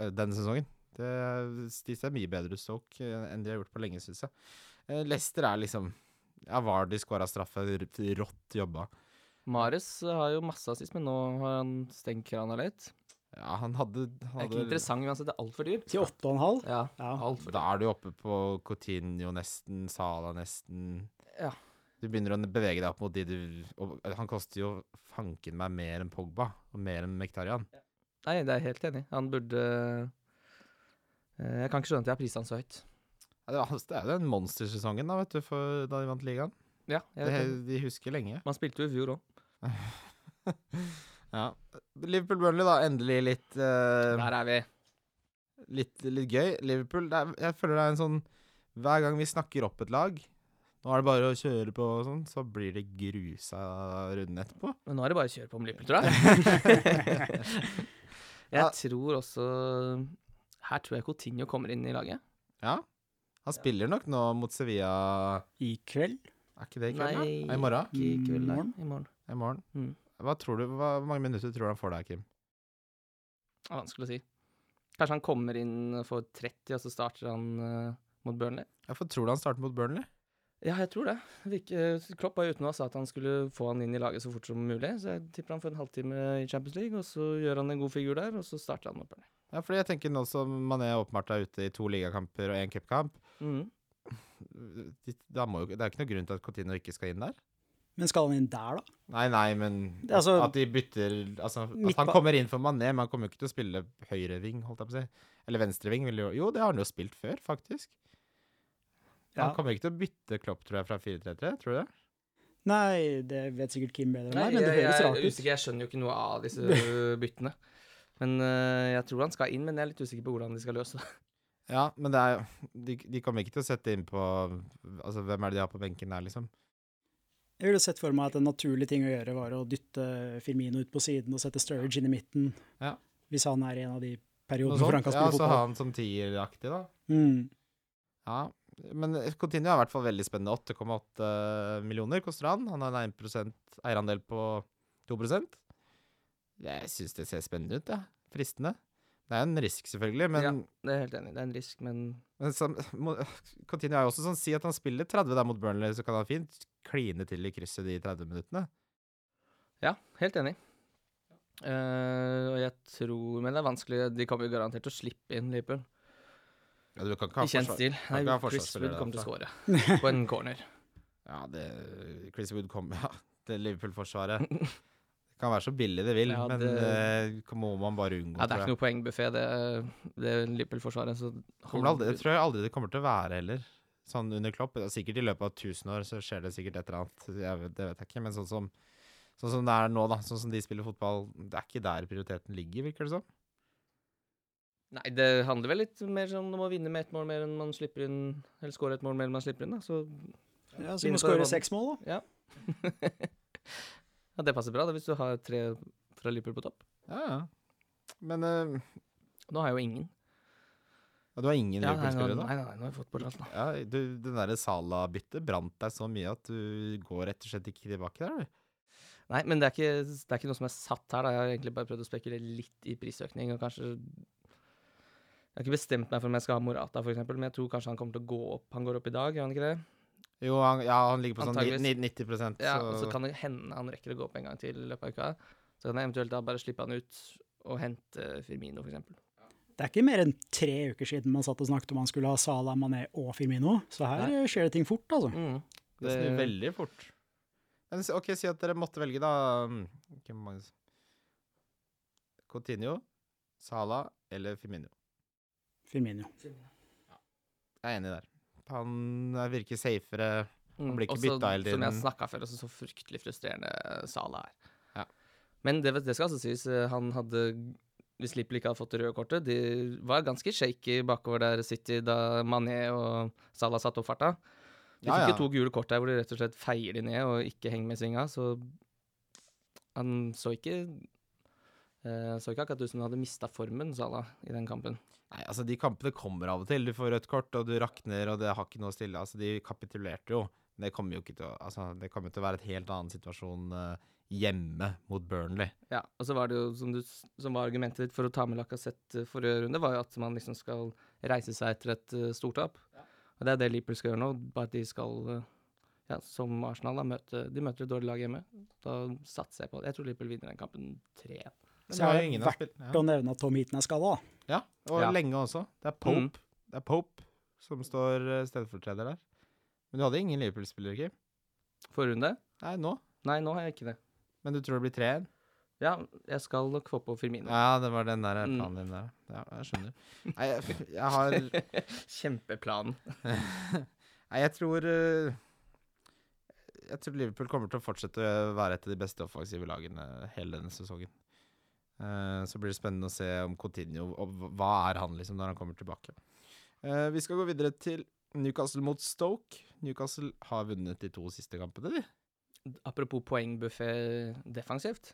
S2: eh, denne sesongen. Det, de ser mye bedre ut, Stoke, eh, enn de har gjort på lenge, syns jeg. Eh, Leicester er liksom Ja, Vardy skåra straffe, r- rått jobba.
S3: Mares har jo masse assist, men nå har han stengt krana litt.
S2: Ja, han hadde,
S3: Det
S2: han
S3: er ikke
S2: hadde
S3: interessant uansett, det er altfor dyrt.
S4: Til åtte og en halv.
S3: Ja,
S4: Ja.
S3: altfor
S2: Da er du oppe på Coutinho nesten, Sala nesten.
S3: Ja.
S2: Du begynner å bevege deg opp mot de du og Han koster jo fanken meg mer enn Pogba, og mer enn Mektarian.
S3: Nei, det er jeg helt enig. i. Han burde eh, Jeg kan ikke skjønne at jeg har prisa han så høyt.
S2: Ja, Det, var, det er jo den monstersesongen da, vet du, for, da de vant ligaen.
S3: Ja, jeg
S2: Det,
S3: vet det.
S2: de husker lenge.
S3: Man spilte jo i fjor òg.
S2: Ja. Liverpool-Burnley, da. Endelig litt, eh,
S3: Der er vi.
S2: litt, litt gøy. Liverpool det er, Jeg føler det er en sånn Hver gang vi snakker opp et lag, nå er det bare å kjøre på og sånn, så blir det grusa runden etterpå.
S3: Men nå er det bare å kjøre på med Liverpool, tror jeg. jeg
S2: Ja.
S3: tror også Her tror jeg Coutinho kommer inn i laget.
S2: Ja. Han spiller nok nå mot Sevilla
S4: I kveld.
S2: Er ikke det i kveld, da?
S3: Nei.
S2: Er I morgen?
S3: Ikke i kveld, nei.
S4: Morgen.
S3: I morgen.
S2: I morgen.
S3: Mm.
S2: Hva tror du, hva, hvor mange minutter tror du han får der, Kim?
S3: Det er vanskelig å si. Kanskje han kommer inn for 30, og så starter han eh, mot Burnley?
S2: Jeg får, tror du han starter mot Burnley?
S3: Ja, jeg tror det. Virke, Klopp var jo ute nå og sa at han skulle få han inn i laget så fort som mulig, så jeg tipper han får en halvtime i Champions League, og så gjør han en god figur der, og så starter han mot Burnley.
S2: Ja, fordi jeg tenker nå som Mané åpenbart er ute i to ligakamper og én cupkamp
S3: Mhm.
S2: de- da må jo, Det er ikke noe grunn til at Coutinho ikke skal inn der?
S4: Men skal han inn der, da?
S2: Nei, nei, men
S4: Det er altså-
S2: at de bytter altså, At han
S4: Midtba-
S2: kommer inn for Mané, men han kommer jo ikke til å spille høyreving, holdt jeg på å si. Eller venstreving. vil Jo, jo, det har han jo spilt før, faktisk.
S4: Ja.
S2: Han kommer ikke til å bytte Klopp, tror jeg, fra 4-3-3, tror du det?
S4: Nei, det vet sikkert Kim bedre enn
S3: Nei,
S4: meg, men det
S3: jeg,
S4: høres
S3: jeg,
S4: rart
S3: er
S4: ut.
S3: usikker, jeg skjønner jo ikke noe av disse øh, byttene. Men øh, jeg tror han skal inn, men jeg er litt usikker på hvordan de skal løse det.
S2: Ja, men det er jo de, de kommer ikke til å sette inn på Altså, hvem er det de har på benken der, liksom?
S4: Jeg ville sett for meg at en naturlig ting å gjøre var å dytte Firmino ut på siden og sette Sturridge inn i midten,
S2: Ja.
S4: hvis han er i en av de
S2: Noe
S4: periodene hvor han
S2: sånt?
S4: kan
S2: Ja,
S4: spille
S2: så ha
S4: fotball.
S2: han som tieraktig, da.
S4: Mm.
S2: Ja. Men Coutinho er i hvert fall veldig spennende. 8,8 millioner koster han. Han har en 1% eierandel på 2 Jeg syns det ser spennende ut, ja. Fristende. Det er en risk, selvfølgelig, men,
S3: Ja. Det er jeg helt enig, i. det er en risk, men
S2: men sam, må, Coutinho er jo også sånn Si at han spiller 30 der mot Burnley, så kan han fint kline til i krysset de 30 minuttene.
S3: ja, helt enig. Eh, og jeg tror Men det er vanskelig, de kommer jo garantert til å slippe inn Liverpool.
S2: Ja, du kan ikke
S3: I
S2: ha
S3: kjent
S2: forsvar.
S3: stil. Nei,
S2: ikke ha
S3: Chris
S2: forsvarsspillere
S3: Wood kommer til å
S2: derfra.
S3: skåre på en corner.
S2: Ja, det, Chris Wood kom, ja. Det Liverpool-forsvaret. Det kan være så billig det vil,
S3: Ja,
S2: men
S3: det-
S2: det må man bare unngå,
S3: Ja, det er ikke
S2: tror jeg.
S3: noe poengbuffé, det, eh, det Liverpool-forsvaret. Så
S2: Kommer det aldri, jeg tror jeg aldri det kommer til å være heller. Sånn under Klopp. Det er Sikkert i løpet av 1000 år så skjer det sikkert et eller annet. Jeg, vet- det vet jeg ikke. Men sånn som, sånn som det er nå, da. Sånn som de spiller fotball. Det er ikke der prioriteten ligger, virker det som.
S3: Nei, det handler vel litt mer sånn om å vinne med ett mål mer enn man slipper inn, eller skåre et mål mer enn man slipper inn, da. Så
S4: Ja, så må
S3: Vinne
S4: du
S3: på
S4: skåre
S3: den
S4: seks mål, da.
S3: Ja, det passer bra da, hvis du har tre fra Liverpool på topp.
S2: Ja, ja. Men eh,
S3: Nå har jeg jo ingen.
S2: ja, du har ingen
S3: Ja, nei, nei,
S2: Liverpool-spillere, da?
S3: nei, nei, nå har jeg fått bort alt, da.
S2: Ja, du, den derre Sala-byttet brant deg så mye at du går rett og slett ikke tilbake der, du.
S3: Nei, men det er, ikke, det er ikke noe som er satt her, da. Jeg har egentlig bare prøvd å spekulere litt i prisøkning, og kanskje Jeg har ikke bestemt meg for om jeg skal ha Morata, for eksempel, men jeg tror kanskje han kommer til å gå opp. Han går opp i dag, gjør han ikke det?
S2: Jo, han, ja, han ligger på sånn
S3: Antageligvis.
S2: ni- ni- 90 så,
S3: Ja, og så kan det hende han rekker å gå opp en gang til i løpet av uka. Så kan jeg eventuelt da bare slippe han ut og hente Firmino, for eksempel.
S4: Det er ikke mer enn tre uker siden man satt og snakket om han skulle ha Salah, Mané og Firmino, så her
S3: Nei.
S4: eh, skjer det ting fort, altså.
S3: Mm.
S2: Det snur
S3: Det-
S2: veldig fort. Men s- OK, si at dere måtte velge, da. mm, Kim og Magnus. Coutinho, Salah eller Firmino.
S4: Firmino.
S2: Jeg er enig der. Han eh, virker safere.
S3: Mm,
S2: blir ikke
S3: også,
S2: bytta hele
S3: Som jeg
S2: tiden.
S3: snakka før, også så fryktelig frustrerende Sala er.
S2: Ja.
S3: Men det, det skal altså sies, eh, han hadde Hvis Liverpool ikke hadde fått det røde kortet De var ganske shaky bakover der City da Mané og Salah satte opp farta. De
S2: Ja,
S3: fikk
S2: ja.
S3: jo to gule kort der hvor de rett og slett feier de ned og ikke henger med i svinga, så han så ikke eh, så ikke akkurat ut som han hadde mista formen, Salah, i den kampen.
S2: Nei, altså De kampene kommer av og til. Du får rødt kort, og du rakner, og det har ikke noe å stille. Altså, De kapitulerte jo. Men Det kommer jo ikke til å, altså, det kommer til å være et helt annen situasjon eh, hjemme mot Burnley.
S3: Ja, og så var det jo, som, du, s- som var argumentet ditt for å ta med Lacassette eh, forrige runde, var jo at man liksom skal reise seg etter et eh, stortap. Og det er det Liverpool skal gjøre nå, bare at de skal, eh, ja, som Arsenal, da, møte, de møter et dårlig lag hjemme. Da satser jeg på det. Jeg tror Liverpool vinner den kampen 3-1.
S4: Så
S2: Men det
S4: er
S2: har
S4: det
S2: jo ingen
S4: verdt
S2: av spill-
S4: Å nevne at Tom Heaton er skada, da.
S2: Ja. ja, og
S3: Ja.
S2: lenge også. Det er Pope
S3: Mm.
S2: Det er Pope som står eh, stedfortreder der. Men du hadde ingen Liverpool-spillere, Kim?
S3: Forrige runde?
S2: Nei, nå.
S3: Nei, nå har jeg ikke det.
S2: Men du tror det blir 3-1?
S3: Ja, jeg skal nok få på Firmino.
S2: Ja, det var den der
S3: Mm.
S2: planen din der. Ja, jeg skjønner. Nei, jeg, jeg har
S3: Kjempeplanen.
S2: Nei, jeg tror eh, Jeg tror Liverpool kommer til å fortsette å være et av de beste offensive lagene hele denne sesongen. Eh, så blir det spennende å se om Coutinho og hva- Hva er han liksom når han kommer tilbake? Eh, vi skal gå videre til Newcastle mot Stoke. Newcastle har vunnet de to siste kampene, de.
S3: Apropos poengbuffé defensivt.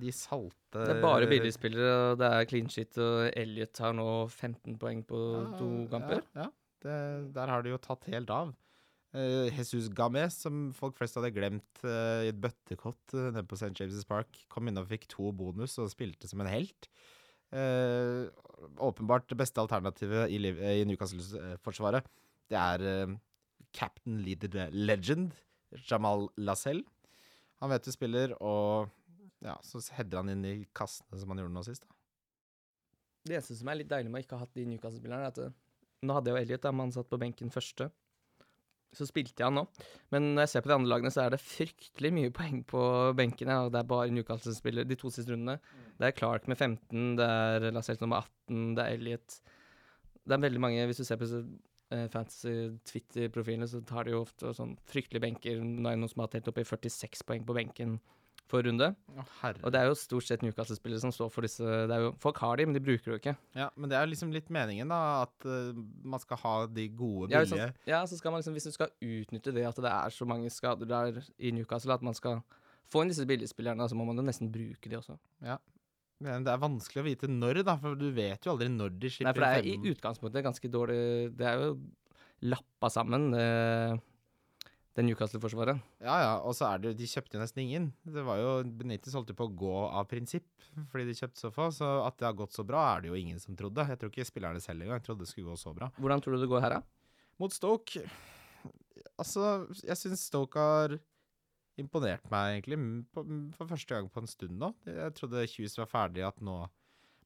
S2: De salte
S3: Det er bare billigspillere, og det er clean shit, og Elliot har nå 15 poeng på
S2: Ja,
S3: to kamper.
S2: Ah, Ja, ja. Det, der har de jo tatt helt av. Eh, Jesus Gamez, som folk flest hadde glemt eh, i et bøttekott eh, nede på St. James' Park, kom inn og fikk to bonus og spilte som en helt. Eh, åpenbart det beste alternativet i, Liv- eh, i Newcastle-forsvaret. Det er eh, captain leader legend, Jamal Lascelle. Han vet du spiller, og ja, så header han inn i kassene som han gjorde nå sist. da.
S3: Det eneste som er litt deilig med å ikke ha hatt de Newcastle-spillerne, er at eh, nå hadde jeg jo Elliot, da, men han satt på benken første. Så spilte jeg han nå. Men når jeg ser på de andre lagene, så er det fryktelig mye poeng på benkene, og det er bare Newcastle-spillere de to siste rundene. Det er Clark med 15, det er Lascelles nummer 18, det er Elliot. Det er veldig mange, hvis du ser på eh, fantasy-Twitter-profilene, så tar de jo ofte sånn fryktelige benker. Nå er det noen som har telt opp i 46 poeng på benken for runde. Og det er jo stort sett Newcastle-spillere som står for disse det er jo, Folk har de, men de bruker det jo ikke.
S2: Ja, men det er jo liksom litt meningen, da, at eh, man skal ha de gode,
S3: Ja,
S2: billige
S3: hvis, man- ja, så skal man liksom, hvis du skal utnytte det at det er så mange skader der i Newcastle, at man skal få inn disse billigspillerne, så må man jo nesten bruke de også.
S2: Men det er vanskelig å vite når, da, for du vet jo aldri når de
S3: Nei,
S2: slipper
S3: for det er i
S2: fem-
S3: utgangspunktet ganske dårlig Det er jo lappa sammen, det, det Newcastle-forsvaret.
S2: Ja, ja, og så er det jo De kjøpte jo nesten ingen. Det var jo Benitez holdt jo på å gå av prinsipp fordi de kjøpte så få, så at det har gått så bra, er det jo ingen som trodde. Jeg tror ikke spillerne selv engang trodde det skulle gå så bra.
S3: Hvordan tror du det går her, da?
S2: Mot Stoke Altså, jeg syns Stoke har imponert meg, egentlig, m- på, m- for første gang på en stund nå. Jeg trodde Hughes var ferdig, at nå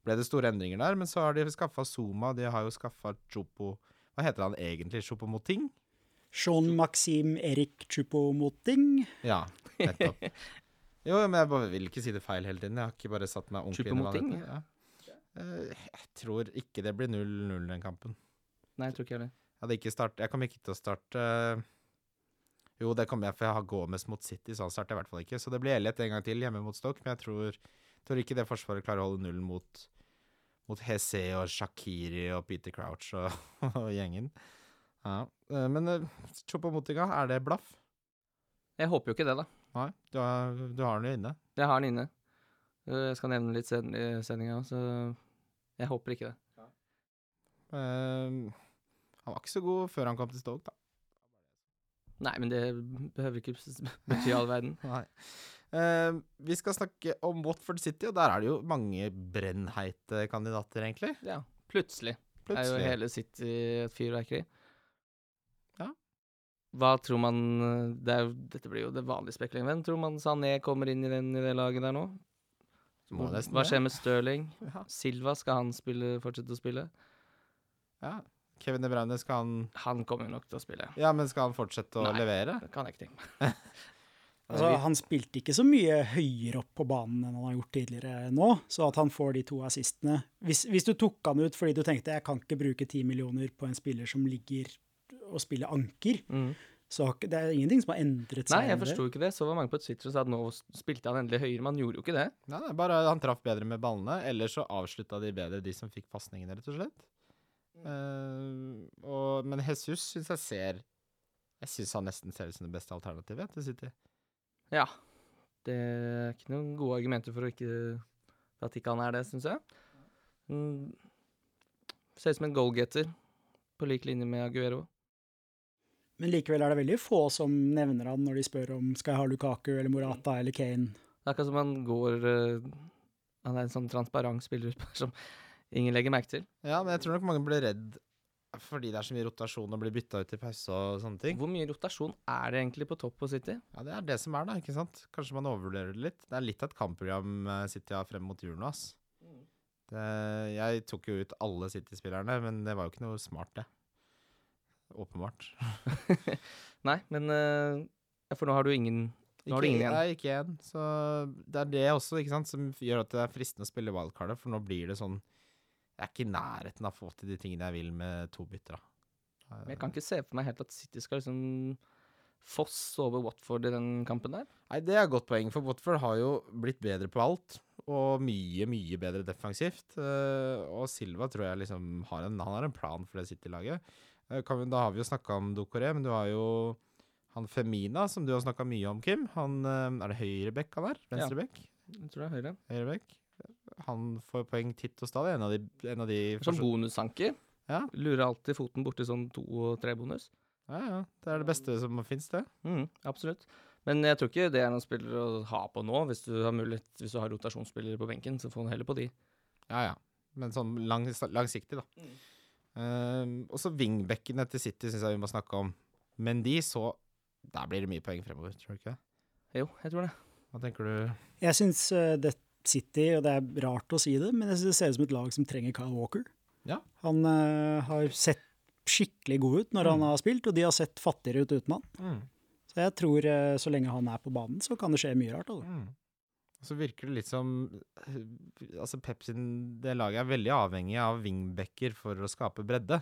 S2: ble det store endringer der. Men så har de skaffa Zuma, de har jo skaffa Chopo Hva heter han egentlig? Chopomoting?
S4: Sean Maxim Erik Chupomoting.
S2: Ja, nettopp. Jo, men jeg bare vil ikke si det feil hele tiden. Jeg har ikke bare satt meg ordentlig inn i hva det
S3: Choupo-Moting,
S2: heter. Ja. Eh, Jeg tror ikke det blir 0-0 den kampen.
S3: Nei, jeg tror ikke jeg det.
S2: Jeg hadde ikke start, Jeg kommer ikke til å starte eh, Jo, det kommer jeg, for jeg har Gomez mot City, så han starter i hvert fall ikke. Så det blir Elliot en gang til hjemme mot Stoke, men jeg tror, tror ikke det forsvaret klarer å holde nullen mot, mot Hesse og Shakiri og Peter Crouch og, og gjengen. Ja. eh, Men Chopomotiga, er det blaff?
S3: Jeg håper jo ikke det, da.
S2: Nei, du har, du har den jo inne.
S3: Jeg har den inne. Eh, Jeg skal nevne den litt senere i sendinga, så jeg håper ikke det.
S2: Eh, han var ikke så god før han kom til Stoke, da.
S3: Nei, men det behøver ikke s- bety all verden.
S2: Nei. Eh, vi skal snakke om Watford City, og der er det jo mange brennheite kandidater, egentlig.
S3: Ja, plutselig, er jo
S2: Plutselig.
S3: hele City et fyrverkeri.
S2: Ja.
S3: Hva tror man eh, det er, jo- Dette blir jo det vanlige spekuleringen. Hvem tror man Sané kommer inn i, den, i det laget der nå?
S2: Må nesten
S3: Hva
S2: det.
S3: skjer med Stirling?
S2: Ja.
S3: Silva, skal han spille, fortsette å spille?
S2: ja. Kevin De Bruyne, skal han
S3: Han kommer nok til å spille.
S2: Ja, men skal han fortsette å
S3: Nei.
S2: levere?
S3: Det kan jeg ikke tenke meg.
S4: Altså, han spilte ikke så mye høyere opp på banen enn han har gjort tidligere nå, så at han får de to assistene Hvis, hvis du tok han ut fordi du tenkte jeg kan ikke bruke ti millioner på en spiller som ligger og spiller anker,
S3: Mm.
S4: så har ikke- det er ingenting som har endret seg.
S3: Nei, jeg
S4: med det.
S3: forsto ikke det. Så var mange på Twitter som sa at nå spilte han endelig høyere, men han gjorde jo ikke det.
S2: Nei, nei, bare han traff bedre med ballene, eller så avslutta de bedre, de som fikk pasningene, rett og slett. Eh, og, men Jesus syns jeg ser Jeg syns han nesten ser ut som det beste alternativet til City.
S3: Ja. Det er ikke noen gode argumenter for å ikke, for at ikke han er det, syns jeg. Mm. Ser ut som en goalgetter, på lik linje med Aguero.
S4: Men likevel er det veldig få som nevner han når de spør om skal jeg ha Lukaku eller Morata eller Kane.
S3: Det er akkurat som han går eh, Han er en sånn transparent spiller som ingen legger merke til.
S2: Ja, men jeg tror nok mange blir redd fordi det er så mye rotasjon og blir bytta ut i pause og sånne ting.
S3: Hvor mye rotasjon er det egentlig på topp på City?
S2: Ja, det er det som er, da, ikke sant? Kanskje man overvurderer det litt. Det er litt av et kampprogram eh, City har frem mot jul nå, ass. Det, jeg tok jo ut alle City-spillerne, men det var jo ikke noe smart, det. Åpenbart.
S3: Nei, men eh, ja, For nå har du ingen Nå har du ingen igjen.
S2: Nei, ikke igjen. Så det er det også, ikke sant, som gjør at det er fristende å spille wildcardet, for nå blir det sånn Jeg er ikke i nærheten av å få til de tingene jeg vil med to bytter, da.
S3: Jeg kan ikke se for meg helt at City skal liksom fosse over Watford i den kampen der.
S2: Nei, det er et godt poeng, for Watford har jo blitt bedre på alt. Og mye, mye bedre defensivt. Eh, og Silva tror jeg liksom har en, han har en plan for det City-laget. Eh, kan vi- da har vi jo snakka om Dokoré, men du har jo han Femina, som du har snakka mye om, Kim. Han, eh, er det høyrebekk han er? Venstrebekk?
S3: Jeg tror det er høyre.
S2: Høyrebekk? Han får poeng titt og stadig. En av de, en av de
S3: Som bonusanker.
S2: Ja.
S3: Lurer alltid foten borti sånn to og tre bonus.
S2: Ja, ja. Det er det beste som fins, det.
S3: Mm, absolutt. Men jeg tror ikke det er noen spillere å ha på nå. Hvis du har mulighet, hvis du har rotasjonsspillere på benken, så få heller på de.
S2: Ja, ja. Men sånn lang, langsiktig, da. Ehm, og så vingbekkene til City syns jeg vi må snakke om. Men de så Der blir det mye poeng fremover, tror du ikke det?
S3: Jo, jeg tror det.
S2: Hva tenker du?
S4: Jeg syns eh, det City, og det er rart å si det, men jeg synes det ser ut som et lag som trenger Kyle Walker.
S2: Ja.
S4: Han eh, har sett skikkelig god ut når han har spilt, og de har sett fattigere ut uten han. Så jeg tror eh, så lenge han er på banen, så kan det skje mye rart. Altså.
S2: Mm. Og så virker det litt som eh, Altså Pep sin det laget er veldig avhengig av vingbekker for å skape bredde.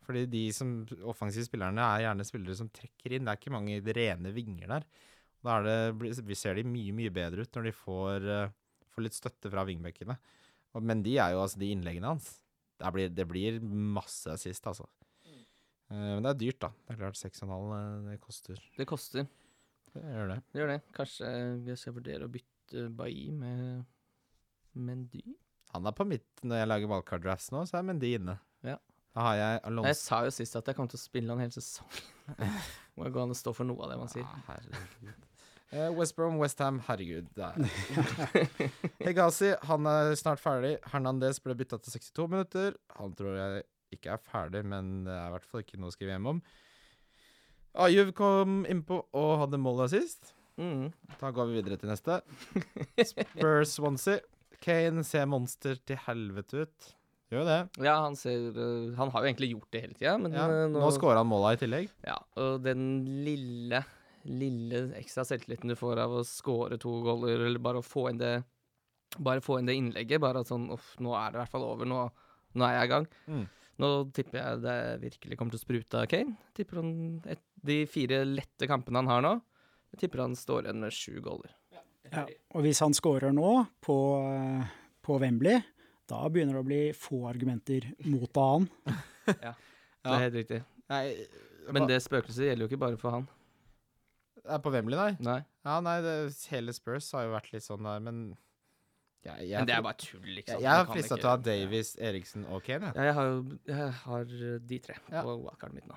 S2: Fordi de som offensive spillerne er gjerne spillere som trekker inn. Det er ikke mange rene vinger der. Da er det, blir- vi ser de mye, mye bedre ut når de får, eh, får litt støtte fra vingbekkene. Og, men de er jo altså de innleggene hans. Det blir, det blir masse assist, altså. Eh, Men det er dyrt, da. Det er klart 6,5 eh, det koster.
S3: Det koster.
S2: Det gjør det.
S3: Det gjør det. Kanskje jeg skal vurdere å bytte Bailly med Mendy.
S2: Han er på mitt når jeg lager wildcard drafts nå, så er Mendy inne.
S3: Ja.
S2: Da har jeg
S3: Nei, Jeg
S2: Alonso
S3: sa jo sist at jeg kom til å spille han hele sesongen. Må jo gå an å stå for noe av det man sier.
S2: Ja, Ah, herregud. Eh, West Brom, West Ham, herregud. det er- Hegazi, han er snart ferdig. Hernandez ble bytta til 62 minutter. Han tror jeg ikke er ferdig, men det er i hvert fall ikke noe å skrive hjem om. Ajuv kom innpå og hadde mål sist.
S3: Mm.
S2: Da går vi videre til neste. Spurs Swansea. Kane ser monster til helvete ut. Gjør jo det.
S3: Ja, han ser øh, Han har jo egentlig gjort det hele tida, men
S2: Ja.
S3: øh,
S2: Nå scora han måla i tillegg.
S3: Ja, og den lille, lille ekstra selvtilliten du får av å score to goller, eller bare å få inn det Bare få inn det innlegget. Bare at sånn Uff, nå er det i hvert fall over. Nå, nå er jeg i gang.
S2: Mm.
S3: Nå tipper jeg det virkelig kommer til å sprute av Kane. Tipper han et, De fire lette kampene han har nå, jeg tipper han står igjen med sju goller.
S4: Ja. Og hvis han scorer nå på, eh, på Wembley, da begynner det å bli få argumenter mot han.
S3: Det er helt riktig.
S2: Nei,
S3: Men det spøkelset gjelder jo ikke bare for han.
S2: er på Wembley, nei.
S3: Nei.
S2: Ja, nei, det, hele Spurs har jo vært litt sånn der, men jeg, jeg,
S3: Men det er bare tull, ikke sant.
S2: Jeg, jeg
S3: Man
S2: er
S3: kan
S2: frista
S3: ikke-
S2: til å ha Davies, Eriksen og Kane. jeg.
S3: Ja, jeg har jo jeg har de tre på
S2: Ja.
S3: wildcardet mitt nå.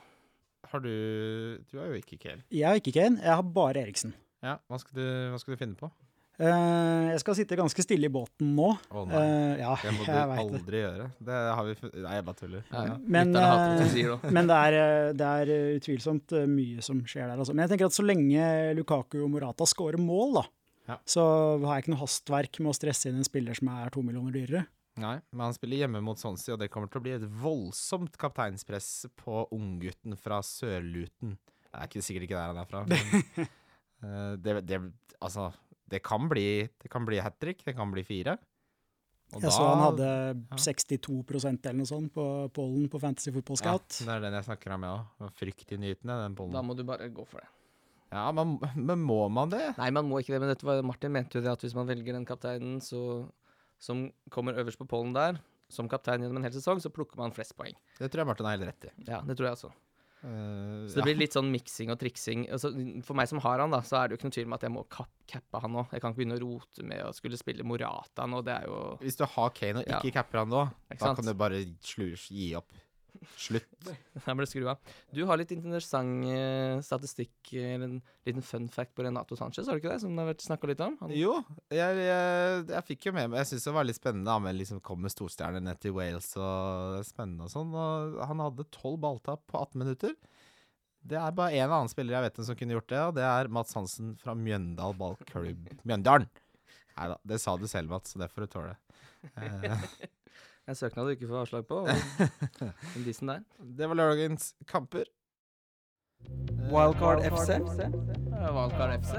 S2: Har du Du har jo ikke Kane.
S4: Jeg har ikke Kane, jeg har bare Eriksen.
S2: Ja, hva skal du, hva skal du finne på?
S4: Eh, jeg skal sitte ganske stille i båten nå.
S2: Å nei,
S4: Eh, ja,
S2: det må du
S4: jeg veit det.
S2: aldri gjøre. Det har vi fun- Nei, jeg bare tuller. Ja.
S4: Men,
S3: lytterne hater at
S4: eh,
S3: du sier det.
S4: Men det er, eh, det er eh, utvilsomt eh, mye som skjer der. Altså. Men jeg tenker at så lenge Lukaku og Morata scorer mål, da,
S2: Ja.
S4: så har jeg ikke noe hastverk med å stresse inn en spiller som er to millioner dyrere.
S2: Nei, men han spiller hjemme mot Swansea, og det kommer til å bli et voldsomt kapteinspress på unggutten fra Sørluten. Det er ikke, sikkert ikke der han er fra. Men, Eh, det, det, altså, det kan bli, det kan bli hat trick, det kan bli fire. Og
S4: Jeg så han hadde
S2: ja.
S4: 62 eller noe sånt på pollen på Fantasy Football Scout.
S2: Ja, det er den jeg snakker om, ja. Fryktinngytende,
S3: Da
S2: den pollen.
S3: må du bare gå for det.
S2: Ja, man, men må man det?
S3: Nei, man må ikke det, men dette var, Martin mente jo det at hvis man velger den kapteinen så, som kommer øverst på pollen der, som kaptein gjennom en hel sesong, så plukker man flest poeng.
S2: Det tror jeg Martin har helt rett i.
S3: Ja, det tror jeg også.
S2: Eh,
S3: Så det
S2: ja.
S3: blir litt sånn miksing og triksing. Altså, for meg som har han, da, så er det jo ikke noe tvil om at jeg må kap cappe han nå. Jeg kan ikke begynne å rote med å skulle spille Morata nå, det er jo
S2: Hvis du har Kane og
S3: Ja.
S2: ikke capper han nå,
S3: Ikke
S2: da
S3: sant?
S2: kan du bare slu- gi opp. Slutt.
S3: Jeg ble skrua. Du har litt interessant eh, statistikk, eller en liten fun fact på Renato Sanchez, har du ikke det? Som det har vært snakka litt om? Han,
S2: Jo, jeg, jeg, jeg fikk jo med meg Jeg syns det var litt spennende. da, med liksom kom med storstjerner ned til Wales og det er spennende og sånn. Og han hadde tolv balltap på 18 minutter. Det er bare én annen spiller jeg vet om som kunne gjort det, og det er Mats Hansen fra Mjøndal ballklubb. Mjøndalen! Nei da, det sa du selv, Mats, så det får du tåle. Eh,
S3: en søknad du ikke får avslag på. Og, den disen der.
S2: det var lørdagens kamper.
S1: Wildcard FC.
S3: Valgkar FC.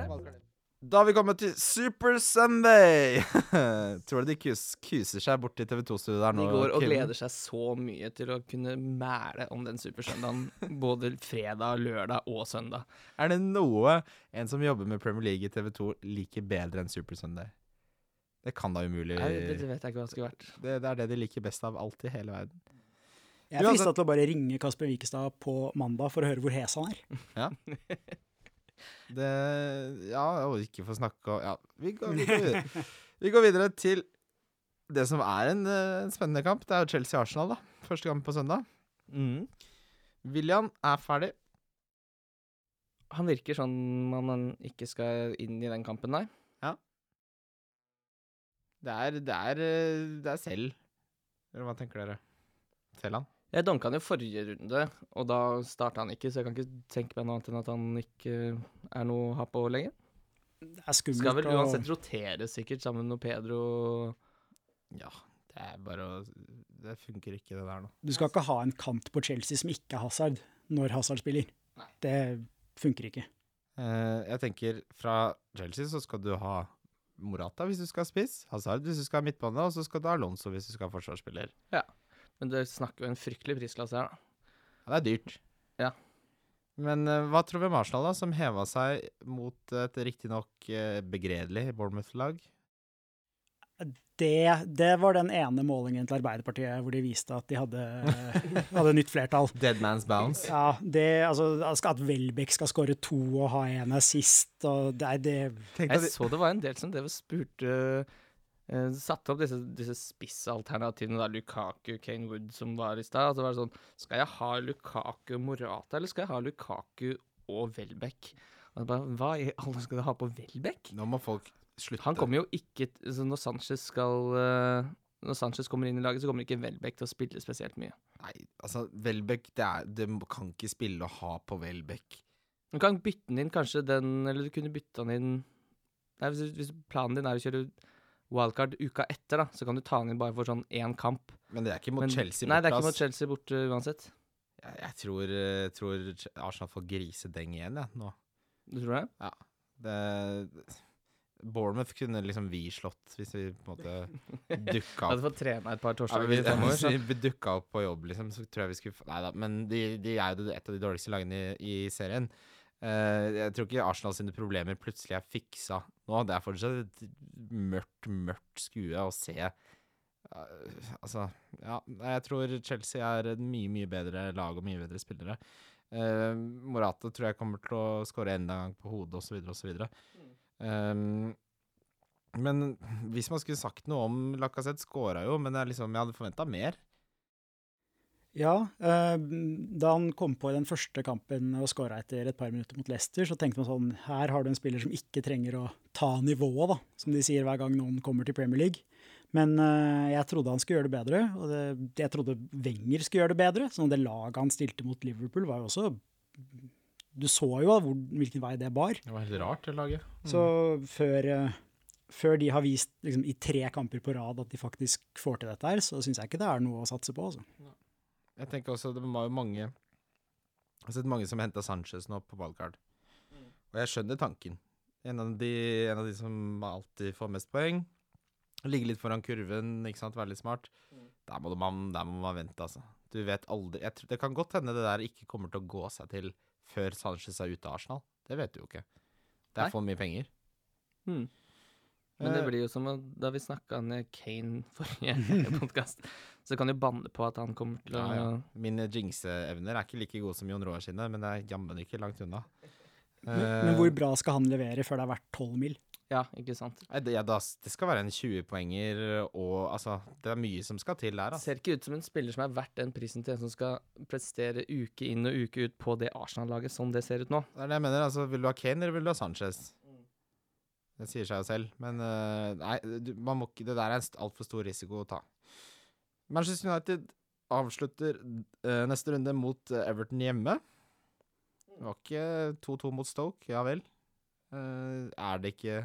S2: Da har vi kommet til Super Sunday! Tror du de kus, kuser seg borti TV2-studioet der nå?
S3: De går og
S2: Kim?
S3: gleder seg så mye til å kunne mæle om den supersøndagen både fredag, lørdag og søndag.
S2: Er det noe en som jobber med Premier League i TV2 liker bedre enn Super Sunday? Det kan da umulig
S3: Nei, det,
S2: det,
S3: det vet jeg ikke hva det skulle vært.
S2: det er det de liker best av alt i hele verden.
S4: Jeg er
S2: Ja,
S4: frista til å bare ringe Kasper Wikestad på mandag for å høre hvor hes han er.
S2: Det Ja, og ikke få snakke om Ja, vi går, vi, går videre. vi går videre til det som er en, eh, en spennende kamp. Det er jo Chelsea-Arsenal, da. Første kamp på søndag.
S3: Mm.
S2: William er ferdig.
S3: Han virker sånn man man ikke skal inn i den kampen, nei.
S2: Det er, det er, eh, det er selv. Eller hva tenker dere? Selv han?
S3: Jeg dunka han jo forrige runde, og da starta han ikke, så jeg kan ikke tenke meg noe annet enn at han ikke er noe å ha på lenger.
S4: Det er skummelt.
S3: Skal vel
S4: og-
S3: uansett rotere sikkert sammen med Pedro
S2: Ja, det er bare å Det funker ikke, det der nå.
S4: Du skal ikke ha en kant på Chelsea som ikke er Hazard, når Hazard spiller. Det funker ikke.
S2: Eh, jeg tenker fra Chelsea så skal du ha Morata hvis du skal ha spiss, Hazard hvis du skal ha midtbane, og så skal du ha Alonso hvis du skal ha forsvarsspiller.
S3: Men det snakker jo en fryktelig prisklasse her, da.
S2: Ja, det er dyrt.
S3: Ja.
S2: Men eh, hva tror vi om Arsenal, da, som heva seg mot et riktignok uh, begredelig Bournemouth-lag?
S4: Det, det var den ene målingen til Arbeiderpartiet hvor de viste at de hadde, hadde nytt flertall.
S2: Dead man's bounce.
S4: Ja, det, altså, At Welbeck skal skåre to og ha en assist og Nei, det
S2: Tenkte
S3: Jeg
S2: at de,
S3: så det var en del som drev og spurte eh, Satte opp disse, disse spissalternativene, da, Lukaku, Kane Wood, som var i stad. Og så var det sånn Skal jeg ha Lukaku og Morata, eller skal jeg ha Lukaku og Welbeck? Og jeg bare, Hva i alle skal du ha på Welbeck?
S2: nå må folk slutte.
S3: Han kommer jo ikke t- altså Når Sanchez skal eh, Når Sanchez kommer inn i laget, så kommer ikke Welbeck til å spille spesielt mye.
S2: Nei, altså, Welbeck det, er- det kan ikke spille å ha på Welbeck.
S3: Du kan bytte den inn kanskje den Eller du kunne bytte den inn Nei, hvis, du- hvis planen din er å kjøre wildcard uka etter, da, så kan du ta den inn bare for sånn én kamp.
S2: Men det er ikke mot
S3: Men-
S2: Chelsea.
S3: Nei, det er
S2: borte,
S3: ikke mot
S2: ass.
S3: Chelsea borte uansett.
S2: Jeg, jeg tror, eh, tror Arsenal får grisedeng igjen, jeg, nå.
S3: Du tror det?
S2: det, Bournemouth kunne liksom vi slått hvis vi på en måte dukka
S3: Jeg hadde
S2: opp.
S3: fått trene et par
S2: Ja, men
S3: torsdager
S2: hvis,
S3: fremover, så
S2: hvis vi dukka opp på jobb, liksom, så tror jeg vi skulle Nei da, men de, de er jo et av de dårligste lagene i, i serien. Eh, jeg tror ikke Arsenal sine problemer plutselig er fiksa nå. Det er fortsatt et mørkt, mørkt skue å se. Eh, altså Ja, nei, jeg tror Chelsea er et mye, mye bedre lag og mye bedre spillere. Eh, Morata tror jeg kommer til å skåre enda en gang på hodet, osv., osv. Um, men hvis man skulle sagt noe om Lacassette, skåra jo, men det er liksom, jeg hadde forventa mer.
S4: Ja, eh, da han kom på i den første kampen og skåra etter et par minutter mot Leicester, så tenkte man sånn Her har du en spiller som ikke trenger å ta nivået, da, som de sier hver gang noen kommer til Premier League. Men eh, jeg trodde han skulle gjøre det bedre, og det, jeg trodde Wenger skulle gjøre det bedre. Så det laget han stilte mot Liverpool, var jo også Du så jo hvor, hvilken vei det bar.
S2: Det var helt rart, det laget.
S4: Så før, eh, før de har vist liksom, i tre kamper på rad at de faktisk får til dette her, så syns jeg ikke det er noe å satse på, altså.
S2: Jeg tenker også, det var jo mange Jeg har sett mange som henta Sanchez nå på ballkart. Og jeg skjønner tanken. En av, de, en av de som alltid får mest poeng. Ligge litt foran kurven, ikke sant? være litt smart. Der må, man, der må man vente, altså. Du vet aldri jeg tror, Det kan godt hende det der ikke kommer til å gå seg til før Sanchez er ute av Arsenal. Det vet du jo ikke. Det
S3: Nei.
S2: er for mye penger.
S3: Hmm. Men det
S2: Eh,
S3: blir jo som å- da vi snakka ned Kane forrige podkast, så kan du banne på at han kommer til å
S2: Ja, ja. Mine jinxeevner er ikke like gode som Jon Roar sine, men det er jammen ikke langt unna.
S4: Men,
S2: Eh,
S4: men hvor bra skal han levere før det er verdt 12 mil?
S3: Ja, ikke sant.
S2: nei, det, ja, da, s- det skal være en 20-poenger og altså Det er mye som skal til der, altså.
S3: Ser ikke ut som en spiller som er verdt den prisen til en som skal prestere uke inn og uke ut på det Arsenal-laget, sånn det ser ut nå.
S2: Det er det jeg mener. altså Vil du ha Kane, eller vil du ha Sanchez? Det sier seg jo selv. Men eh, nei, du, man må ikke Det der er en altfor stor risiko å ta. Manchester United avslutter eh, neste runde mot eh, Everton hjemme. Det var ikke 2-2 mot Stoke, ja vel. Eh, er det ikke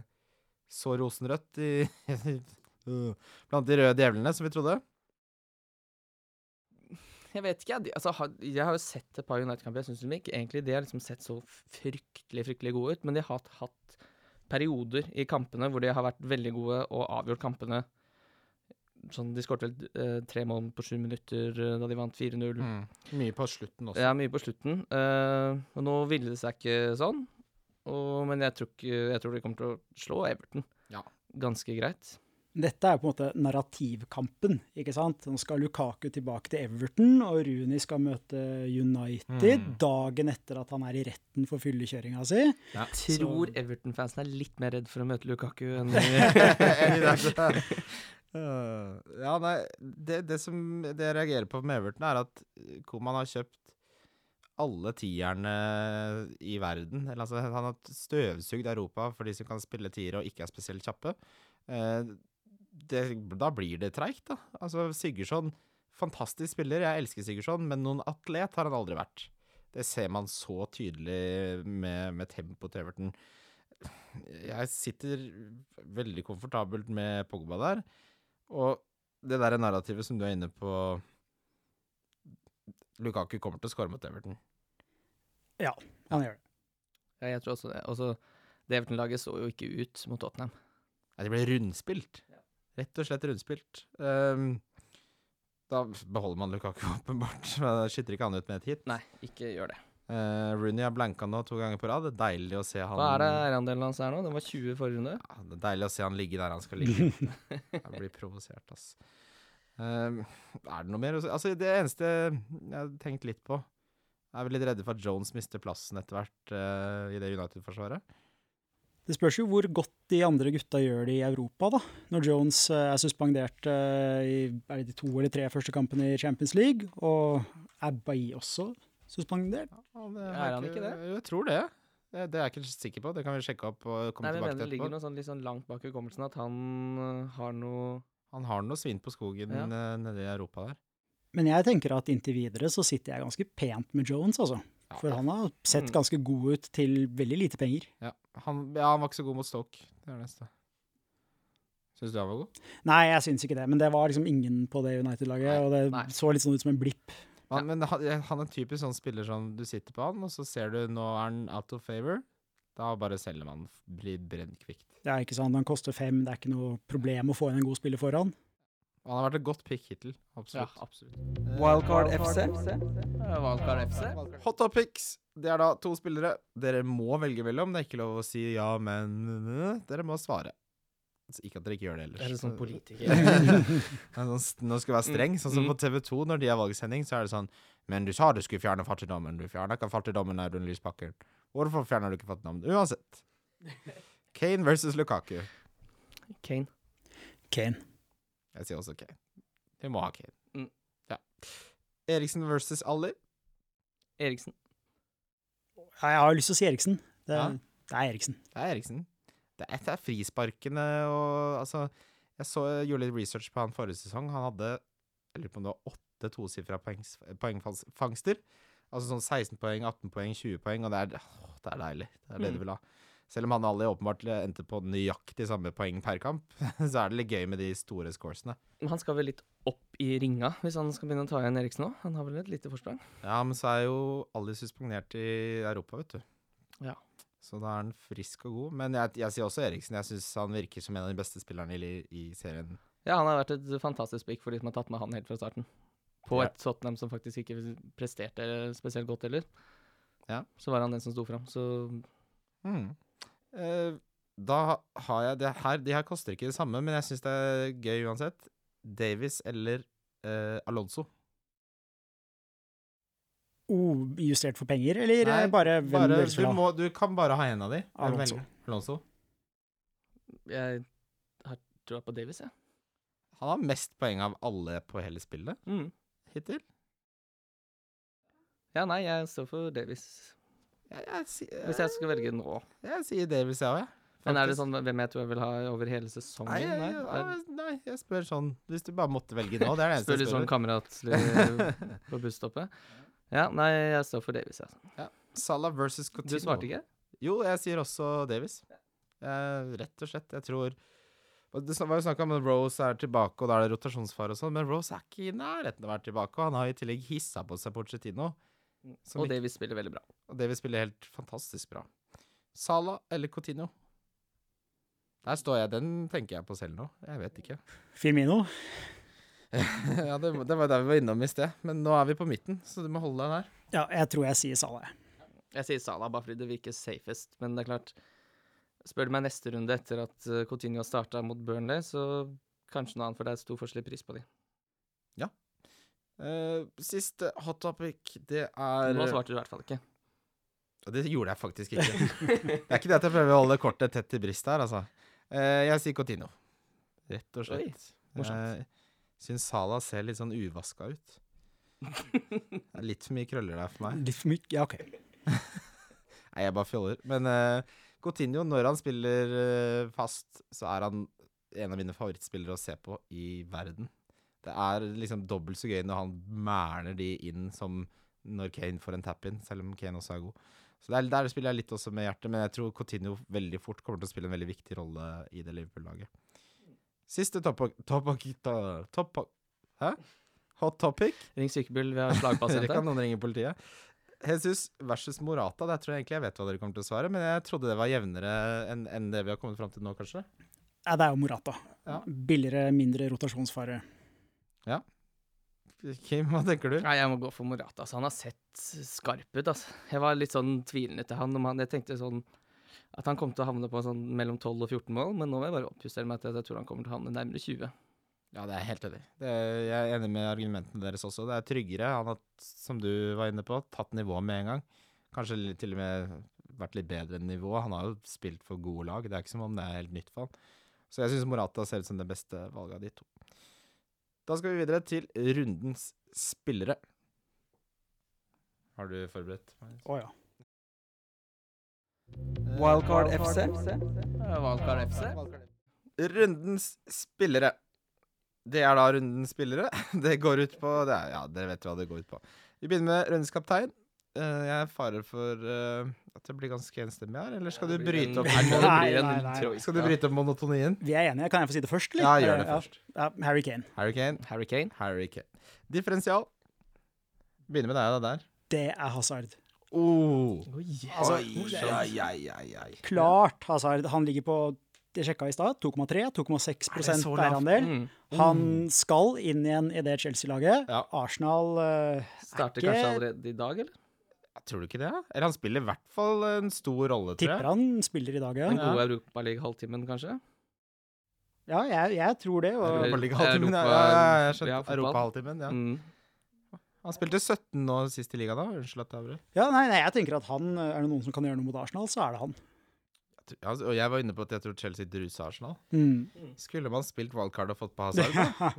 S2: så rosenrødt i eh, blant de røde djevlene som vi trodde?
S3: Jeg vet ikke, jeg. De- Altså, har- jeg har jo sett et par United-kamper. Jeg syns ikke egentlig de har liksom sett så fryktelig fryktelig gode ut, men de har hatt, hatt perioder i kampene hvor de har vært veldig gode og avgjort kampene. Sånn, de skåret vel eh, tre mål på sju minutter eh, da de vant 4-0.
S2: Mm. Mye på slutten også.
S3: Ja, mye på slutten. eh, og nå ville det seg ikke sånn. Og, men jeg tror, ikke, jeg tror de kommer til å slå Everton
S2: Ja.
S3: ganske greit.
S4: Dette er på en måte narrativkampen, ikke sant? Nå skal Lukaku tilbake til Everton, og Rooney skal møte United
S2: Mm.
S4: dagen etter at han er i retten for fyllekjøringa si.
S3: Tror Everton-fansen er litt mer redd for å møte Lukaku enn
S2: Enig i det. Øh, ja, nei, det, det som det jeg reagerer på med Everton, er at Koman har kjøpt alle tierne i verden. Eller, altså, han har støvsugd Europa for de som kan spille tiere og ikke er spesielt kjappe. Eh, det, da blir det treigt, da. Altså, Sigurdsson, fantastisk spiller, jeg elsker Sigurdsson, men noen atlet har han aldri vært. Det ser man så tydelig med, med tempoet til Everton jeg sitter veldig komfortabelt med Pogba der. Og det der narrativet som du er inne på Lukaku kommer til å skåre mot Everton.
S4: Han gjør det.
S3: Ja, jeg tror også det. Også, det Everton-laget så jo ikke ut mot Tottenham.
S2: Nei, de ble rundspilt. Rett og slett rundspilt. Ehm, da beholder man Lukaku, åpenbart. Men det skytter ikke han ut med et hit.
S3: Nei, ikke gjør det.
S2: Eh, Rooney har blanka nå to ganger på rad. Det er deilig å se han
S3: Hva er det eierandelen hans er nå? Den var 20 forrige runde.
S2: Ja, Ah, det er deilig å se han ligge der han skal ligge. Jeg blir provosert, ass. Ehm, er det noe mer å si? Altså, det eneste jeg har tenkt litt på Jeg er vel litt redde for at Jones mister plassen etter hvert eh, i det United-forsvaret.
S4: Det spørs jo hvor godt de andre gutta gjør det i Europa, da. Når Jones eh, er suspendert eh, i er det de to eller tre første kampene i Champions League, og er Bailly også suspendert?
S2: Og det
S3: Er
S2: har
S3: han ikke det?
S2: Jo, jeg tror det. det. Det er jeg ikke sikker på. Det kan vi sjekke opp og komme
S3: Nei, men jeg mener
S2: tilbake
S3: det
S2: til
S3: ligger
S2: etterpå.
S3: noe sånn litt sånn langt bak hukommelsen at han øh, har noe
S2: Han har noe svin på skogen
S3: Ja.
S2: eh, nede i Europa der.
S4: Men jeg tenker at inntil videre så sitter jeg ganske pent med Jones, altså.
S2: Ja.
S4: For han har sett
S3: Mm.
S4: ganske god ut til veldig lite penger.
S2: Ja, han, ja, han var ikke så god mot Stoke. Det er det neste. Syns du han var god?
S4: Nei, jeg syns ikke det, men det var liksom ingen på det United-laget,
S3: Nei,
S4: og det
S3: nei.
S4: så litt sånn ut som en blipp.
S2: Han, Men han, jeg- han er en typisk sånn spiller som du sitter på han, og så ser du nå er han out of favor. Da bare selger man f- blir brent kvikt.
S4: Det er ikke sånn, han koster fem, det er ikke noe problem å få inn en god spiller foran.
S2: Og han har vært et godt pick hittil. Absolutt.
S3: absolutt.
S1: Wildcard FC.
S3: Valkar FC.
S2: Hot topics! Det er da to spillere. Dere må velge mellom. Det er ikke lov å si ja, men Dere må svare. Altså, ikke at dere ikke gjør det ellers.
S3: Er det sånn
S2: Så-
S3: politiker?
S2: Det er sånn, st- nå skal jeg være streng. Sånn som på TV 2, når de har valgsending, så er det sånn Men du sa du skulle fjerne fattigdommen. Du fjerna ikke fattigdommen, Audun Lysbakken. Hvorfor fjerner du ikke fattigdommen? Uansett. Kane versus Lukaku.
S3: Kane.
S4: Kane.
S2: Jeg sier også Kane. Vi må ha Kane.
S3: Mm.
S2: Ja. Eriksen versus Ali.
S3: Eriksen.
S4: Ja, jeg har lyst til å si Eriksen. Det,
S2: Ja.
S4: det er Eriksen.
S2: Det er Eriksen. Det er, det er frisparkene og Altså, jeg, så, jeg gjorde litt research på han forrige sesong. Han hadde jeg lurer på om det var åtte tosifra poengs, poengfangster. Altså sånn 16 poeng, 18 poeng, 20 poeng, og det er, åh, det er deilig. Det er det du vil ha. Selv om han Ali åpenbart endte på nøyaktig samme poeng per kamp, så er det litt gøy med de store scoresene.
S3: Men han skal vel litt opp i ringa hvis han skal begynne å ta igjen Eriksen nå? Han har vel et lite forsprang?
S2: Ja, men så er jo Ali suspendert i Europa, vet du.
S3: Ja.
S2: Så da er han frisk og god. Men jeg, jeg sier også Eriksen. Jeg syns han virker som en av de beste spillerne i, li- i serien.
S3: Ja, han har vært et fantastisk pick for de som har tatt med han helt fra starten. På
S2: Ja.
S3: et Tottenham som faktisk ikke presterte spesielt godt heller.
S2: Ja.
S3: Så var han den som sto fram. Så
S2: Mm. Eh, da har jeg det her. De her koster ikke det samme, men jeg syns det er gøy uansett. Davis eller eh, Alonso.
S4: Oh, justert for penger, eller
S2: Nei,
S4: eh, bare hvem
S2: Bare,
S4: dere
S2: du,
S4: vil ha?
S2: må, du kan bare ha en av de. Hvem
S4: Alonso.
S2: velger du? Alonso.
S3: jeg har troa på Davies, jeg.
S2: Han har mest poeng av alle på hele spillet
S3: Ja. Mm.
S2: hittil.
S3: ja, nei, jeg står for Davies.
S2: Jeg, jeg, si- eh,
S3: Hvis jeg skal velge nå.
S2: jeg, sier Davis, jeg òg, jeg.
S3: Men er det
S2: faktisk.
S3: sånn hvem jeg tror jeg vil ha over hele sesongen?
S2: Nei, jeg, jeg,
S3: Nei,
S2: nei, nei, jeg spør sånn Hvis du bare måtte velge nå, det er det
S3: jeg
S2: eneste
S3: Spør
S2: jeg
S3: litt sånn
S2: spør.
S3: kameratlig på busstoppet. Ja, nei, jeg står for Davies, jeg. Ja.
S2: Salah versus Coutinho.
S3: Du svarte ikke?
S2: Jo, jeg sier også Davis. Eh, rett og slett. Jeg tror og Det sn- var jo snakk om at Rose er tilbake, og da er det rotasjonsfare og sånn, men Rose er ikke i nærheten av å være tilbake, og han har i tillegg hissa på seg Porcetino. Som
S3: Og
S2: ikke-
S3: Davies spiller veldig bra.
S2: Og Davis spiller helt fantastisk bra. Salah eller Coutinho? Der står jeg. Den tenker jeg på selv nå. Jeg vet ikke.
S4: Firmino?
S2: ja, det, det var der vi var innom i sted, men nå er vi på midten, så du må holde deg der.
S4: Ja, jeg tror jeg sier Salah.
S3: Jeg sier Salah bare fordi det virker safest, men det er klart Spør du meg neste runde etter at eh, Coutinho starta mot Burnley, så kanskje noe annet, for det er stor forskjell i pris på de.
S2: Eh, siste hot topic, det er eh,
S3: Nå svarte du i hvert fall ikke.
S2: Og Det gjorde jeg faktisk ikke. Det er ikke det at jeg prøver å holde kortet tett til brystet her, altså. Eh, jeg sier Cotino. Rett og
S3: Oi,
S2: slett.
S3: morsomt.
S2: Jeg syns Sala ser litt sånn uvaska ut. Det er litt for mye krøller der for meg.
S4: Litt for mye? Ja, OK.
S2: Nei, jeg bare fjoller. Men eh, Coutinho, når han spiller eh, fast, så er han en av mine favorittspillere å se på i verden. Det er liksom dobbelt så gøy når han mæler de inn som når Kane får en tap-in, selv om Kane også er god. Så der, der spiller jeg litt også med hjertet, men jeg tror Coutinho veldig fort kommer til å spille en veldig viktig rolle i det Liverpool-laget. Siste topic, topic, topic Hæ? Hot topic?
S3: Ring sykebil, vi har
S2: Dere kan
S3: slagpasient.
S2: noen ringe politiet. Jesus versus Morata. Der tror jeg egentlig jeg vet hva dere kommer til å svare, men jeg trodde det var jevnere enn enn det vi har kommet fram til nå, kanskje.
S4: Ja, det er jo Morata.
S2: Ja.
S4: Billigere, mindre rotasjonsfare.
S2: Kim, hva tenker du?
S3: Nei, jeg må gå for Morata. Altså, han har sett skarp ut, altså. Jeg var litt sånn tvilende til han om han Jeg tenkte sånn at han kom til å havne på sånn mellom 12 og 14 mål, men nå må jeg bare oppjustere meg til at jeg tror han kommer til å havne nærmere 20.
S2: Ja, det er helt enig. Det er, jeg er enig med argumentene deres også. Det er tryggere. Han har, som du var inne på, tatt nivået med en gang. Kanskje litt- til og med vært litt bedre enn nivået. Han har jo spilt for gode lag. Det er ikke som om det er helt nytt for han. Så jeg syns Morata ser ut som det beste valget av de to. Da skal vi videre til rundens spillere. Har du forberedt? Magnus?
S4: Å ja.
S1: Wildcard FC.
S3: Valgkar FC.
S2: Rundens spillere. Det er da rundens spillere. Det går ut på det er, Ja, dere vet hva det går ut på. Vi begynner med rundens kaptein. Eh, jeg farer for eh, at det blir ganske enstemmig her, eller skal du bryte opp
S3: Nei, det
S4: Nei,
S3: blir en
S4: nei, nei.
S3: troika.
S2: Skal du bryte opp monotonien?
S4: Vi er enige. Kan jeg få si det først,
S2: Ja, gjør det først.
S4: Ja, Harry Kane.
S2: Harry Kane,
S3: Harry Kane.
S2: Harry Kane. Differensial. Begynner med deg, da, der.
S4: Det er Hazard.
S2: Oh.
S4: Altså, klart Hazard. Han ligger på jeg sjekka i stad, 2,3. 2,6
S2: Er det så lavt?
S4: eierandel.
S3: Mm.
S4: Han skal inn igjen i det Chelsea-laget.
S2: Ja.
S4: Arsenal eh,
S3: Starter
S4: Ikke-
S3: kanskje allerede i dag, eller?
S2: Tror du ikke det? Eller han spiller i hvert fall en stor rolle, tror
S4: tipper
S2: jeg.
S4: han spiller i dag, ja.
S3: Den gode Europaliga-halvtimen, kanskje?
S4: Ja, jeg, jeg tror det. Og
S2: Europaliga-halvtimen. Ja,
S3: Europa-
S2: ja, ja, jeg skjønte.
S3: ja, fotball.
S2: Europa-halvtimen, ja.
S3: Mm.
S2: Han spilte 17 nå sist i ligaen, da. Unnskyld at jeg avbrøt.
S4: Ja, nei, nei, jeg tenker at han, eh, Er det noen som kan gjøre noe mot Arsenal, så er det han.
S2: Jeg tror- altså, Og jeg var inne på at jeg tror Chelsea druser Arsenal.
S4: Mm.
S2: Skulle man spilt wildcard og fått på Hazard? da?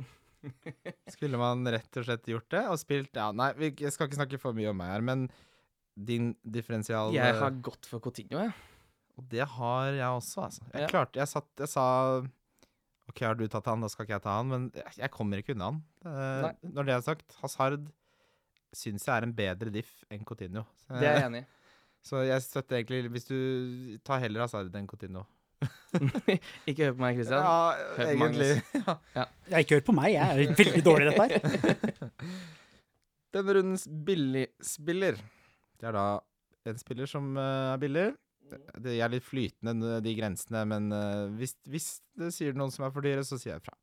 S2: Skulle man rett og slett gjort det? Og spilt Ja, nei, vi, jeg skal ikke snakke for mye om meg her, men din differensial
S3: Jeg har gått for Coutinho, jeg.
S2: Og det har jeg også, altså. Jeg
S3: Ja.
S2: klarte Jeg satt Jeg sa OK, har du tatt han, da skal ikke jeg ta han, men jeg- jeg kommer ikke unna han. Eh,
S3: Nei.
S2: når det er sagt, Hazard syns jeg er en bedre diff enn Coutinho. Så-
S3: Det er jeg enig i.
S2: Så jeg støtter egentlig Hvis du tar heller Hazard enn Coutinho.
S3: Ikke hør på meg, Christian.
S2: Ja, eh,
S3: Hør på
S2: egentlig.
S4: Jeg har ikke hørt på meg, jeg er veldig dårlig i dette her.
S2: Denne rundens billigspiller Det er da en spiller som eh, er billig, det- De er litt flytende, de grensene, men eh, hvis, hvis det sier noen som er for dyre, så sier jeg fra.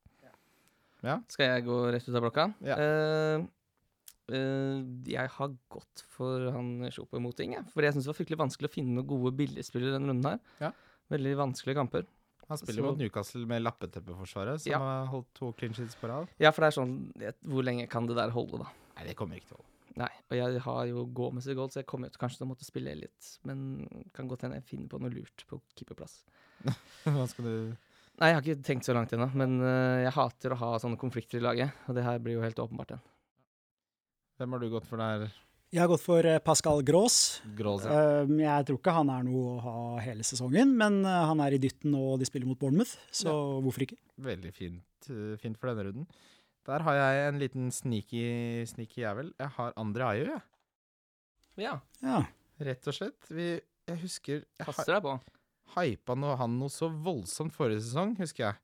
S3: Skal jeg gå rett ut av blokka?
S2: Ja.
S3: Eh, eh, jeg har gått for han Sjopo Moting, jeg. For jeg syns det var fryktelig vanskelig å finne noen gode billigspillere denne runden her.
S2: Ja.
S3: Veldig vanskelige kamper.
S2: Han spiller
S3: Så-
S2: mot Newcastle med lappeteppeforsvaret, som
S3: Ja.
S2: har holdt to clean sheets på rad.
S3: Ja, for det er sånn jeg, Hvor lenge kan det der holde, da?
S2: Nei, det kommer ikke til å holde.
S3: Nei. Og jeg har jo gåmessig gold, så jeg kommer jo til kanskje til å måtte spille litt. Men kan godt hende jeg finner på noe lurt på keeperplass.
S2: Hva skal du
S3: Nei, jeg har ikke tenkt så langt ennå, men eh, jeg hater å ha sånne konflikter i laget. Og det her blir jo helt åpenbart en.
S2: Hvem har du gått for der,
S4: Jeg har gått for eh, Pascal Grås.
S2: Grås? Ja.
S4: Um, Jeg tror ikke han er noe å ha hele sesongen, men eh, han er i dytten og de spiller mot Bournemouth, så hvorfor ikke?
S2: Veldig fint, eh, fint for denne runden. Der har jeg en liten sneaky, sneaky jævel. Jeg har Andre Ayew, jeg.
S3: Ja,
S4: Ja.
S2: Rett og slett. Vi, jeg husker Jeg har-
S3: passer deg på.
S2: hypa noe, han noe så voldsomt forrige sesong, husker jeg.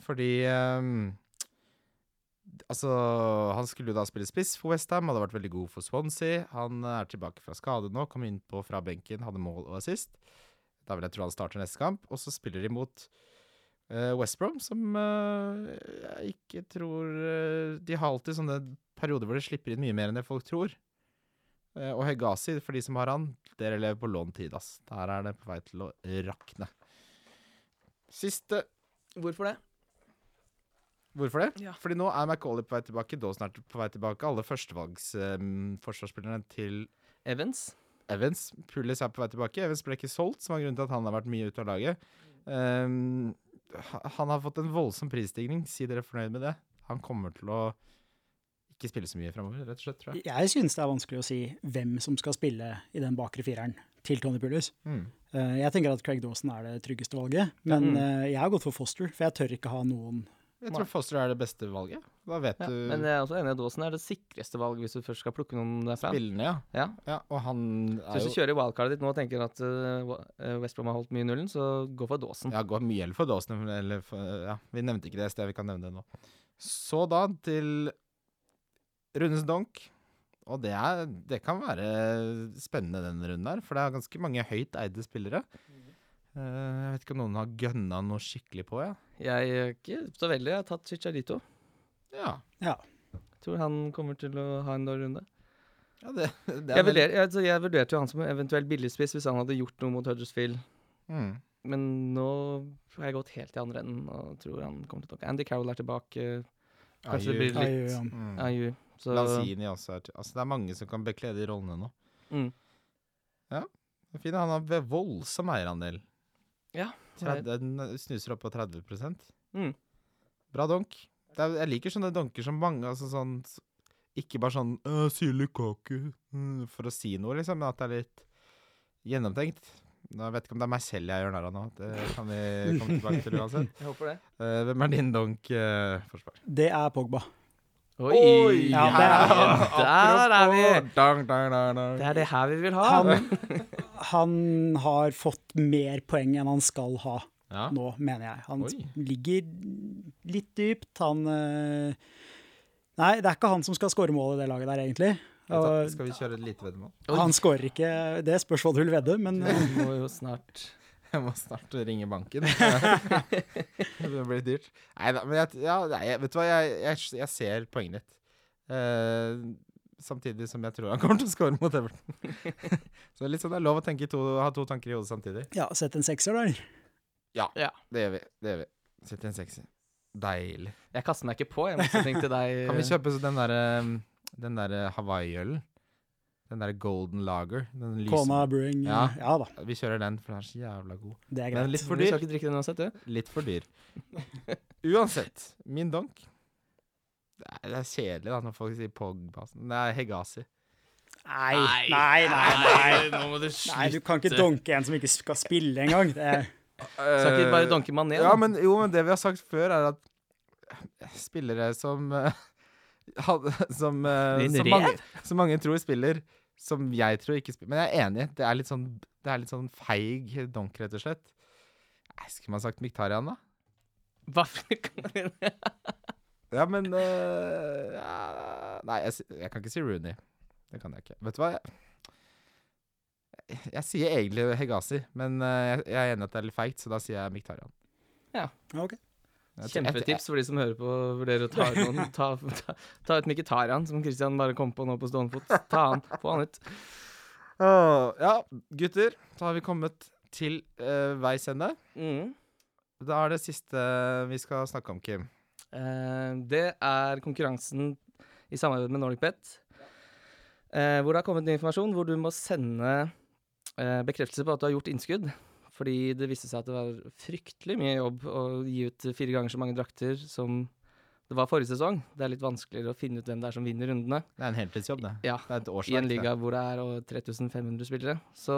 S2: Fordi ehm, Altså, han skulle jo da spille spiss for Westham, hadde vært veldig god for Swansea. Han er tilbake fra skade nå, kom innpå fra benken, hadde mål og assist. Da vil jeg tro han starter neste kamp. Og så spiller de mot eh, West Brom, som eh, jeg ikke tror eh, De har alltid sånne perioder hvor de slipper inn mye mer enn det folk tror. Eh, og Hegazi, for de som har han, dere lever på lånt tid, ass. Der er det på vei til å rakne. Siste
S3: Hvorfor det?
S2: Hvorfor det?
S3: Ja.
S2: Fordi nå er McAuley på vei tilbake, Dawson er på vei tilbake. Alle førstevalgsforsvarsspillerne til
S3: Evans.
S2: Evans. Pulis er på vei tilbake. Evans ble ikke solgt, som er grunnen til at han har vært mye ute av laget. Ehm, ha- han har fått en voldsom prisstigning. Si dere er fornøyd med det. Han kommer til å ikke spille så mye framover, rett og slett, tror jeg.
S4: Jeg synes det er vanskelig å si hvem som skal spille i den bakre fireren til Tony Pulis.
S2: Mm.
S4: Eh, Jeg tenker at Craig Dawson er det tryggeste valget, men
S3: Mm.
S4: eh, jeg har gått for Foster, for jeg tør ikke ha noen
S2: Jeg
S3: Nei.
S2: tror Foster er det beste valget. Da vet
S3: Ja,
S2: du
S3: men jeg er også enig i at Dawson er det sikreste valget hvis du først skal plukke noen derfra.
S2: spillene, ja.
S3: Ja.
S2: ja. Og han
S3: Så
S2: er
S3: hvis
S2: jo
S3: du kjører wildcardet ditt nå og tenker at eh, wa- eh, West Brom har holdt mye i nullen, så gå for Dawson.
S2: Ja, går mye eller for Dawson. Eller for, ja, vi nevnte ikke det stedet, vi kan nevne det nå. Så da til rundens donk. Og det, er, det kan være spennende denne runden her, for det er ganske mange høyt eide spillere.
S3: Mm.
S2: Eh, jeg vet ikke om noen har gønna noe skikkelig på, ja.
S3: Jeg er ikke så veldig. Jeg har tatt Chicharito.
S2: Ja,
S4: Ja.
S3: Tror han kommer til å ha en dårlig runde.
S2: ja det, det
S3: Jeg,
S2: vel-
S3: vurderer, jeg, så jeg vurderte jo han som eventuelt billigspiss hvis han hadde gjort noe mot Huddersfield,
S2: Mm.
S3: men nå har jeg gått helt i andre enden og tror han kommer til å tokke. Andy Carroll er tilbake. Kanskje det
S2: Ayew.
S3: blir
S4: Ayew,
S3: litt
S4: ja.
S2: mm.
S3: Ayew. Så
S2: Lanzini også er til Altså, det er mange som kan bekle de rollene nå.
S3: Mm.
S2: Ja. Det er fint. Han har voldsom eierandel.
S3: Ja, jeg-
S2: 30, den eh, snuser opp på 30
S3: Mm.
S2: Bra donk. Det er, jeg liker sånne donker som mange altså sånn, s- Ikke bare sånn «Øh, 'Sier Lukaku' mm, for å si noe, liksom, men at det er litt gjennomtenkt. Nå, jeg vet ikke om det er meg selv jeg gjør narr av nå. Det kan vi komme tilbake til uansett.
S3: jeg håper det.
S2: Eh, hvem er din donk, eh, forsvar?
S4: Det er Pogba.
S3: Oi!
S4: Ja, det
S3: Der er vi!
S2: Apropos, dang, dang, dang, dang.
S3: Det er det her vi vil ha.
S4: Han, han har fått mer poeng enn han skal ha
S2: Ja.
S4: nå, mener jeg. Han
S2: Oi.
S4: ligger litt dypt. Han eh, Nei, det er ikke han som skal skåre mål i det laget der, egentlig.
S2: Vet du,
S4: Og
S2: Skal vi kjøre et lite veddemål?
S3: Oi.
S4: han skårer ikke Det spørs hva du vil vedde, men eh,
S3: Vi må jo snart
S2: Jeg må snart ringe banken. det blir dyrt. Nei da, men jeg, ja, nei, jeg- vet du hva, jeg, jeg, jeg ser poenget ditt. Eh, samtidig som jeg tror han kommer til å score mot Everton. Så det er litt sånn det er lov å tenke i to, ha to tanker i hodet samtidig.
S4: ja, sett en sekser, da.
S2: Det gjør vi. det gjør vi. Sitter i en sekser. Deilig.
S3: Jeg kaster meg ikke på, jeg motsetning til deg.
S2: Kan vi kjøpe så den derre den der eh, Hawaii-ølen? Den derre Golden Lager? Den lyse.
S4: Kona Brewing. eh,
S2: Ja.
S4: ja da,
S2: Vi kjører den, for den er så jævla god.
S4: det er
S2: Men
S4: greit.
S2: litt for
S3: Du
S2: dyr.
S3: skal ikke drikke den uansett, du.
S2: Litt for dyr. Uansett, min donk Det er, det er kjedelig da når folk sier Pogba. sånn. Det er Hegasi.
S4: Nei, nei, nei.
S3: Nå må du
S4: Nei, du kan
S2: eh,
S4: ikke donke en som ikke skal spille engang. Det er-
S3: Skal ikke bare donke mané, da?
S2: Eh, Ja, men, jo, men det vi har sagt før, er at eh, spillere som eh, hadde, som, eh,
S3: Din
S2: som,
S3: rev?
S2: mange, som mange tror spiller, som jeg tror ikke spiller Men jeg er enig, det er litt sånn, det er litt sånn feig donk, rett og slett. Nei, skulle man sagt Miktarian, da?
S3: Hva for kan
S2: Ja, men eh, ja, Nei, jeg, si- jeg kan ikke si Rooney. Det kan jeg ikke. Vet du hva? Jeg, Jeg sier egentlig Hegazi, men eh, jeg, jeg er enig at det er litt feigt, så da sier jeg Miktarian.
S4: Ok.
S2: Jeg tror- jeg-
S3: Kjempetips for de som hører på og vurderer å ta ut noen. Ta, ta, ta ut Mkhitarian, som Christian bare kom på nå på stående fot. Ta han, få han ut.
S2: Åh, ja, gutter, da har vi kommet til eh, veis ende.
S3: Mm.
S2: Da er det siste vi skal snakke om, Kim.
S3: Eh, det er konkurransen i samarbeid med NordicBet, eh, hvor det har kommet ny informasjon hvor du må sende eh, bekreftelse på at du har gjort innskudd. Fordi det viste seg at det var fryktelig mye jobb å gi ut fire ganger så mange drakter som det var forrige sesong. Det er litt vanskeligere å finne ut hvem det er som vinner rundene.
S2: Det er en heltidsjobb, det.
S3: Ja,
S2: Det er et årsverk.
S3: I en
S2: det.
S3: liga hvor det er og 3500 spillere. Så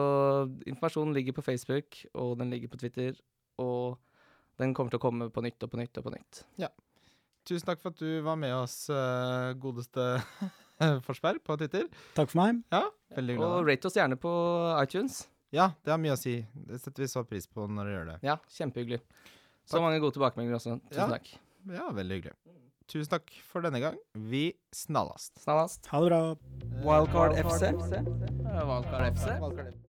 S3: informasjonen ligger på Facebook, og den ligger på Twitter, og den kommer til å komme på nytt og på nytt og på nytt.
S2: Tusen takk for at du var med oss, eh, godeste Forsberg, på Twitter.
S4: Takk for meg.
S2: Ja, veldig glad. i
S3: Og
S2: deg.
S3: rate oss gjerne på iTunes.
S2: Ja, det har mye å si. Det setter vi så pris på når du gjør det.
S3: Ja, kjempehyggelig. Så
S2: Takk.
S3: mange gode tilbakemeldinger også. Tusen
S2: Ja.
S3: takk.
S2: Ja, veldig hyggelig. Tusen takk for denne gang. Vi snallast.
S3: Snallast.
S4: Ha det bra.
S1: Wildcard FC.
S3: Valgkar FC.